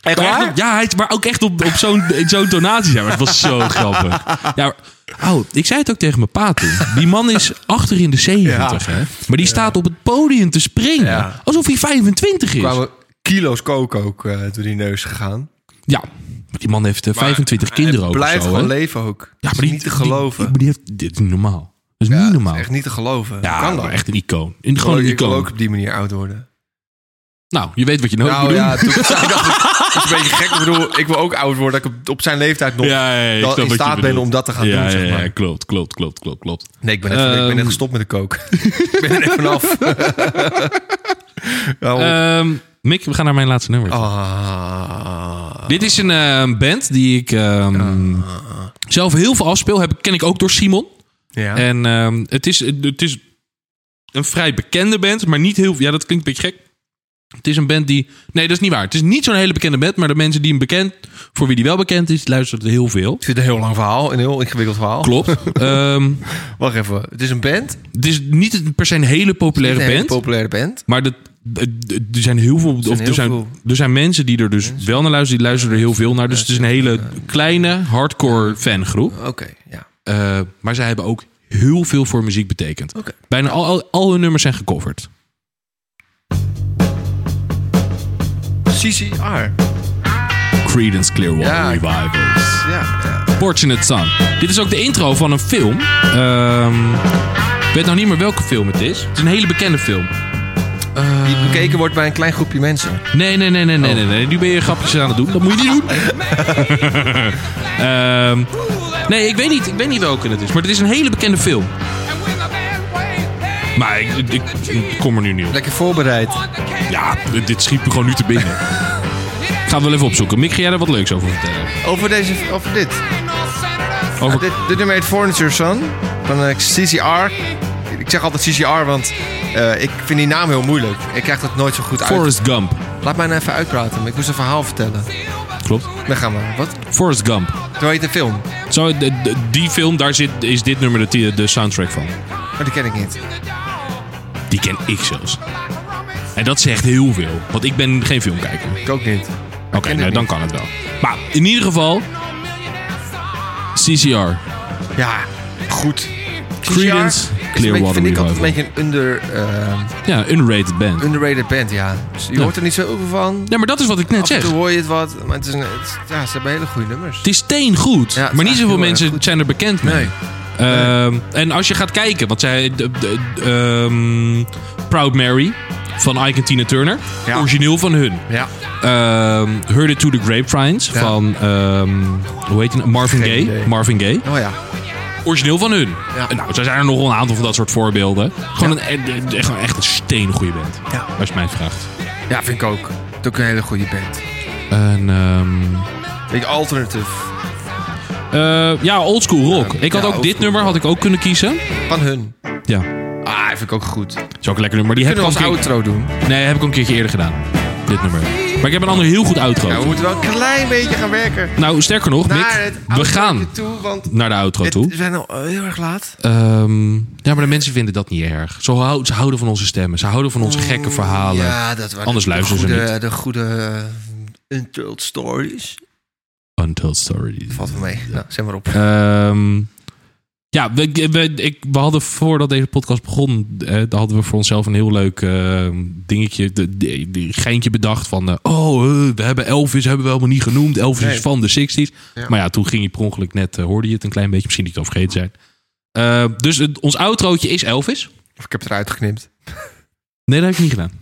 Speaker 2: Echt
Speaker 1: Maar echt
Speaker 2: waar?
Speaker 1: op- ja, hij is maar ook echt op, op zo'n in zo'n tonatie. zijn. Maar het was [laughs] zo grappig. Ja, maar- oh, ik zei het ook tegen mijn pa toen. Die man is achter in de 70,
Speaker 2: Ja.
Speaker 1: hè? Maar die staat op het podium te springen.
Speaker 2: Ja.
Speaker 1: Alsof hij 25 is.
Speaker 2: Er kwamen kilo's kook ook eh, door die neus gegaan.
Speaker 1: Ja, maar die man heeft eh, 25 kinderen ook. of
Speaker 2: Blijft
Speaker 1: zo,
Speaker 2: gewoon
Speaker 1: hè?
Speaker 2: leven ook.
Speaker 1: Ja,
Speaker 2: Ja, maar niet te geloven.
Speaker 1: Die, die heeft, dit is niet normaal. Dat is
Speaker 2: Ja,
Speaker 1: niet
Speaker 2: het is
Speaker 1: normaal.
Speaker 2: Echt niet te geloven.
Speaker 1: ja,
Speaker 2: kan
Speaker 1: maar
Speaker 2: dat?
Speaker 1: echt een icoon. Een,
Speaker 2: Ik wil
Speaker 1: gewoon een
Speaker 2: ook- ik wil
Speaker 1: icoon.
Speaker 2: ook op die manier oud worden.
Speaker 1: Nou, je weet wat je nodig moet
Speaker 2: nou
Speaker 1: doen.
Speaker 2: ja, toen [laughs] ik zei dat, dat is een beetje gek. Ik bedoel, ik wil ook oud worden. Dat ik op- op zijn leeftijd nog
Speaker 1: Ja, ja, ja, ik
Speaker 2: wel
Speaker 1: snap wat
Speaker 2: in
Speaker 1: je
Speaker 2: staat ben
Speaker 1: bedoelt.
Speaker 2: om dat te gaan
Speaker 1: Ja,
Speaker 2: doen. Zeg
Speaker 1: ja,
Speaker 2: maar.
Speaker 1: ja, klopt, klopt, klopt, klopt, klopt.
Speaker 2: Nee, ik ben, net, ik ben
Speaker 1: Ehm.
Speaker 2: net gestopt met de kook. [laughs] ik ben er net
Speaker 1: [laughs]
Speaker 2: vanaf. Nou,
Speaker 1: Ehm, Mick, we gaan naar mijn laatste
Speaker 2: Oh.
Speaker 1: nummer.
Speaker 2: ah.
Speaker 1: Dit is een eh, band die ik ehm, zelf heel veel afspeel. Heb, ik- ken ik ook door Simon.
Speaker 2: ja.
Speaker 1: En ehm, het, is, het is een vrij bekende band, maar niet heel... Ja, dat klinkt een beetje gek. Het is een band die... Nee, dat is niet waar. Het is niet zo'n hele bekende band, maar de mensen die hem bekend... Voor wie die wel bekend is, luisteren er heel veel.
Speaker 2: ik vind het een heel lang verhaal. Een heel ingewikkeld verhaal. [laughs]
Speaker 1: Klopt. Ehm,
Speaker 2: Wacht even. Het is een band.
Speaker 1: het is niet een- per se een hele
Speaker 2: Een
Speaker 1: populaire
Speaker 2: hele
Speaker 1: band.
Speaker 2: populaire band.
Speaker 1: Maar dat, eh, d- er zijn heel veel. of
Speaker 2: heel
Speaker 1: er, zijn,
Speaker 2: veel.
Speaker 1: er zijn mensen die er dus wel naar luisteren. Die luisteren er heel veel naar. Dus het is een hele kleine hardcore fangroep.
Speaker 2: Oké, ja.
Speaker 1: Eh, maar zij hebben ook heel veel voor muziek betekend.
Speaker 2: Oké.
Speaker 1: Bijna al, al, al hun nummers zijn gecoverd.
Speaker 2: CCR.
Speaker 1: Creedence Clearwater
Speaker 2: Ja.
Speaker 1: Revival.
Speaker 2: Ja, ja.
Speaker 1: Fortunate Son. Dit is ook de intro van een film. Ehm, ik weet nou niet meer welke film het is. Het is een hele bekende film.
Speaker 2: Die bekeken wordt bij een klein groepje mensen.
Speaker 1: Nee, nee, nee, nee, nee, nee, nee. Nu ben je grapjes aan het doen. Dat moet je niet doen. [laughs] Ehm, nee, ik weet, niet, ik weet niet welke het is. Maar het is een hele bekende film. Maar ik, ik, ik kom er nu niet op.
Speaker 2: Lekker voorbereid.
Speaker 1: Ja, dit schiet me gewoon nu te binnen. Ik ga het wel even opzoeken. Mick, ga jij er wat leuks over vertellen?
Speaker 2: Over, deze, over dit.
Speaker 1: Over...
Speaker 2: Dit, dit nummer heet Furniture Son. Van eh, CCR. Ik zeg altijd CCR, want eh, ik vind die naam heel moeilijk. Ik krijg dat nooit zo goed uit.
Speaker 1: Forrest Gump.
Speaker 2: Laat mij nou even uitpraten. maar Ik moest een verhaal vertellen.
Speaker 1: Klopt.
Speaker 2: Dan gaan we. Wat?
Speaker 1: Forrest Gump.
Speaker 2: Zo heet de film.
Speaker 1: Zo, de- de- die film, daar zit, is dit nummer de, ti- de soundtrack van.
Speaker 2: Maar Oh, die ken ik niet.
Speaker 1: Die ken ik zelfs. En dat zegt heel veel. Want ik ben geen filmkijker.
Speaker 2: Ik ook niet.
Speaker 1: Oké,
Speaker 2: ken
Speaker 1: nou,
Speaker 2: het
Speaker 1: dan
Speaker 2: niet.
Speaker 1: kan het wel. Maar in ieder geval... CCR.
Speaker 2: Ja, goed.
Speaker 1: Creedence
Speaker 2: CCR is een beetje-
Speaker 1: Clearwater
Speaker 2: Vind ik altijd
Speaker 1: Revival.
Speaker 2: een beetje een under, eh,
Speaker 1: Ja, underrated band.
Speaker 2: underrated band, ja. Dus je
Speaker 1: Ja.
Speaker 2: hoort er niet zoveel van.
Speaker 1: Ja, maar dat is wat ik net
Speaker 2: Af en
Speaker 1: zeg.
Speaker 2: toe hoor je het wat. Maar het is een, het is- ja, ze hebben hele goede nummers.
Speaker 1: Het is steengoed.
Speaker 2: Ja, het
Speaker 1: maar
Speaker 2: is
Speaker 1: niet
Speaker 2: echt
Speaker 1: zoveel
Speaker 2: heel erg
Speaker 1: mensen
Speaker 2: goed.
Speaker 1: zijn er bekend mee.
Speaker 2: Nee.
Speaker 1: Ehm, En als je gaat kijken, want zij... de- de- de- ehm, Proud Mary van Ike en Tina Turner.
Speaker 2: Ja.
Speaker 1: Origineel van hun.
Speaker 2: Ja.
Speaker 1: Ehm, Heard It To The Grapevines
Speaker 2: Ja.
Speaker 1: van... ehm, hoe heet het? Marvin
Speaker 2: Geen
Speaker 1: Gaye.
Speaker 2: idee.
Speaker 1: Marvin Gaye.
Speaker 2: Oh ja.
Speaker 1: Origineel van hun.
Speaker 2: Ja.
Speaker 1: En Nou, zo zijn er nog wel een aantal van dat soort voorbeelden. Gewoon een, eh, eh, gewoon echt een steengoede band.
Speaker 2: Ja.
Speaker 1: Als je mij vraagt.
Speaker 2: Ja, vind ik ook. Het is ook een hele goede band.
Speaker 1: En... ehm,
Speaker 2: Beetje alternative.
Speaker 1: eh, ja, oldschool rock. ik had
Speaker 2: ja,
Speaker 1: ook dit
Speaker 2: oldschool
Speaker 1: nummer had ik ook kunnen kiezen.
Speaker 2: Van hun.
Speaker 1: Ja.
Speaker 2: Ah, vind ik ook goed.
Speaker 1: Dat is ook een lekker nummer. Die heb ik
Speaker 2: Kunnen
Speaker 1: al
Speaker 2: we als
Speaker 1: een keer-
Speaker 2: outro doen?
Speaker 1: Nee, heb ik al een keertje eerder gedaan. Dit nummer. Maar ik heb een ander heel goed outro.
Speaker 2: Ja, we moeten wel een klein beetje gaan werken.
Speaker 1: Nou, sterker nog,
Speaker 2: Naar
Speaker 1: Mick,
Speaker 2: het
Speaker 1: we
Speaker 2: outrootje
Speaker 1: gaan
Speaker 2: toe, want
Speaker 1: naar de outro
Speaker 2: het-
Speaker 1: toe.
Speaker 2: we zijn al eh, heel erg laat.
Speaker 1: Ehm, ja, maar de mensen vinden dat niet erg. Ze hou- ze houden van onze stemmen. Ze houden van onze gekke verhalen.
Speaker 2: Mm, Ja, dat waren
Speaker 1: Anders
Speaker 2: de
Speaker 1: luisteren ze
Speaker 2: goede,
Speaker 1: niet.
Speaker 2: De goede eh, untold stories.
Speaker 1: Untold Stories.
Speaker 2: Valt wel mee. Nou, zet maar op.
Speaker 1: Ehm, ja, we, we, ik, we hadden voordat deze podcast begon, eh, daar hadden we voor onszelf een heel leuk eh, dingetje, de, de- de- geintje bedacht van, eh, oh, eh, we hebben Elvis, hebben we helemaal niet genoemd. Elvis
Speaker 2: Nee.
Speaker 1: is van de 60s.
Speaker 2: Ja.
Speaker 1: Maar ja, toen ging je per ongeluk net, eh, hoorde je het een klein beetje, misschien niet al vergeten zijn. Eh, dus het- ons outrootje is Elvis.
Speaker 2: Of ik heb het eruit geknipt.
Speaker 1: Nee, dat heb ik niet gedaan.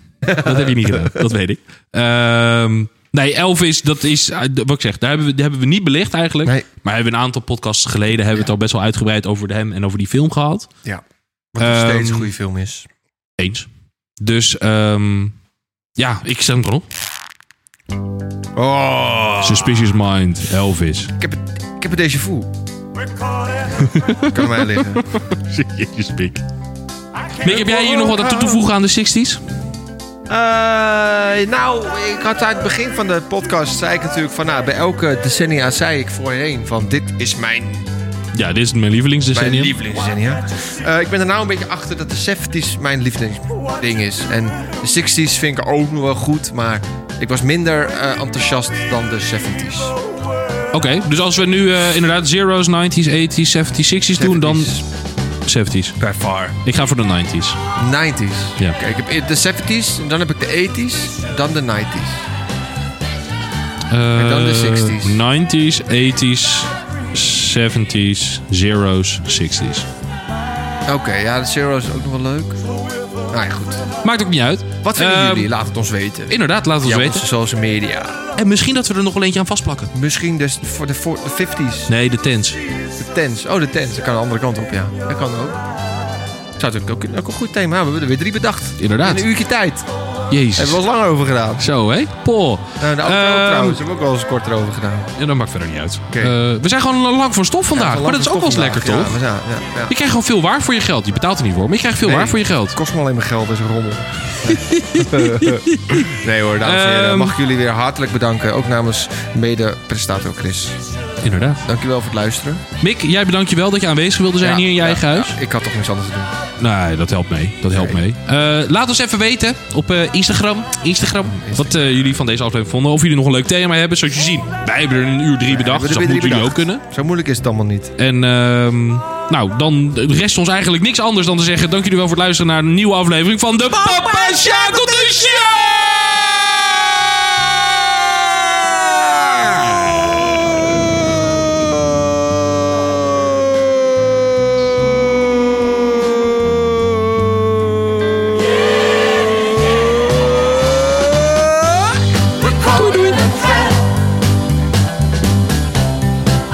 Speaker 1: Dat heb je niet gedaan, dat weet ik. Ehm, nee, Elvis, dat is, eh, d- wat ik zeg, daar hebben we, die hebben we niet belicht eigenlijk.
Speaker 2: Nee.
Speaker 1: Maar hebben we een aantal podcasts geleden hebben we het al best wel uitgebreid over hem en over die film gehad.
Speaker 2: Ja. Wat nog steeds
Speaker 1: Ehm,
Speaker 2: een goede film is.
Speaker 1: Eens. Dus ehm, ja, ik zet hem gewoon op.
Speaker 2: Oh,
Speaker 1: Suspicious Mind, Elvis.
Speaker 2: ik heb, het, ik heb het déjà
Speaker 1: [laughs]
Speaker 2: vu. kan mij liggen.
Speaker 1: Jezus, Mick. Mick, heb jij hier nog wat aan toe te voegen aan de 60s?
Speaker 2: Eh, nou, ik had aan het begin van de podcast zei ik natuurlijk van, nou, bij elke decennia zei ik voorheen van, dit is mijn,
Speaker 1: Ja, dit is mijn
Speaker 2: mijn
Speaker 1: lievelingsdecennium.
Speaker 2: lievelingsdecennia. Eh, ik ben er nou een beetje achter dat de 70s mijn lievelingsding is. En de 60s vind ik ook nog wel goed, maar ik was minder eh, enthousiast dan de 70s.
Speaker 1: Oké, dus als we nu eh, inderdaad zeros, 90s, 80s, 70s, 60s doen, dan 70s.
Speaker 2: By far.
Speaker 1: Ik ga voor de 90s.
Speaker 2: 90s.
Speaker 1: Ja.
Speaker 2: Kijk, ik heb e- de 70s, dan heb ik de 80s, dan de 90s.
Speaker 1: en
Speaker 2: dan de 60s.
Speaker 1: 90s, 80s, 70s, zeros, 60s.
Speaker 2: Oké, ja, de Zero is ook nog wel leuk. Nou ja, goed.
Speaker 1: Maakt ook niet uit.
Speaker 2: Wat vinden
Speaker 1: Ehm,
Speaker 2: jullie? Laat het ons weten.
Speaker 1: Inderdaad, laat het ons
Speaker 2: Via
Speaker 1: weten.
Speaker 2: onze social media.
Speaker 1: En misschien dat we er nog wel eentje aan vastplakken.
Speaker 2: Misschien dus voor de, voor de 50s.
Speaker 1: Nee, de tens.
Speaker 2: De tens. Oh, de tens. Dat kan de andere kant op, ja. Dat kan ook. Zou natuurlijk ook, kunnen. ook een goed thema. We hebben er weer drie bedacht.
Speaker 1: Inderdaad.
Speaker 2: In een uurtje tijd. Daar
Speaker 1: Jezus.
Speaker 2: hebben we ons lang over gedaan.
Speaker 1: Zo, hé? Paul.
Speaker 2: Nou, de outro
Speaker 1: Ehm,
Speaker 2: trouwens hebben we ook wel eens kort over gedaan.
Speaker 1: Ja, dat maakt verder niet uit.
Speaker 2: Oké.
Speaker 1: Eh, we zijn gewoon lang van stof vandaag. maar dat is ook wel eens lekker, toch?
Speaker 2: Ja, ja, ja, ja.
Speaker 1: Je krijgt gewoon veel waar voor je geld. Je betaalt er niet voor, maar je krijgt veel
Speaker 2: Nee,
Speaker 1: waar voor je geld.
Speaker 2: Het kost me alleen maar geld, deze
Speaker 1: [laughs]
Speaker 2: rommel. nee hoor, dames en heren.
Speaker 1: Ehm.
Speaker 2: Mag ik jullie weer hartelijk bedanken. Ook namens mede-presentator Chris.
Speaker 1: Inderdaad.
Speaker 2: Dankjewel voor het luisteren.
Speaker 1: Mick, jij bedankt je wel dat je aanwezig wilde zijn
Speaker 2: Ja,
Speaker 1: hier in je
Speaker 2: ja,
Speaker 1: eigen huis.
Speaker 2: ja, ik had toch niks anders te doen.
Speaker 1: Nee, dat helpt mee. Dat helpt
Speaker 2: Oké.
Speaker 1: mee. Eh, laat ons even weten op eh, Instagram, Instagram wat eh, jullie van deze aflevering vonden. Of jullie nog een leuk thema hebben. Zoals je ziet, wij hebben er in een uur drie bedacht.
Speaker 2: We
Speaker 1: Dus dat
Speaker 2: hebben er
Speaker 1: moeten
Speaker 2: weer
Speaker 1: jullie ook
Speaker 2: bedacht.
Speaker 1: kunnen.
Speaker 2: Zo moeilijk is het allemaal niet.
Speaker 1: En ehm, nou, dan rest ons eigenlijk niks anders dan te zeggen... dank jullie wel voor het luisteren naar een nieuwe aflevering van de Papa Shackleton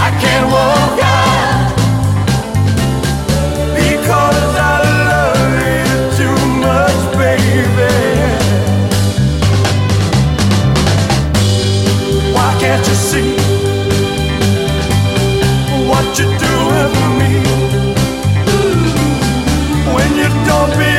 Speaker 5: I can't walk out because I love you too much, baby. Why can't you see what you're doing to me when you don't be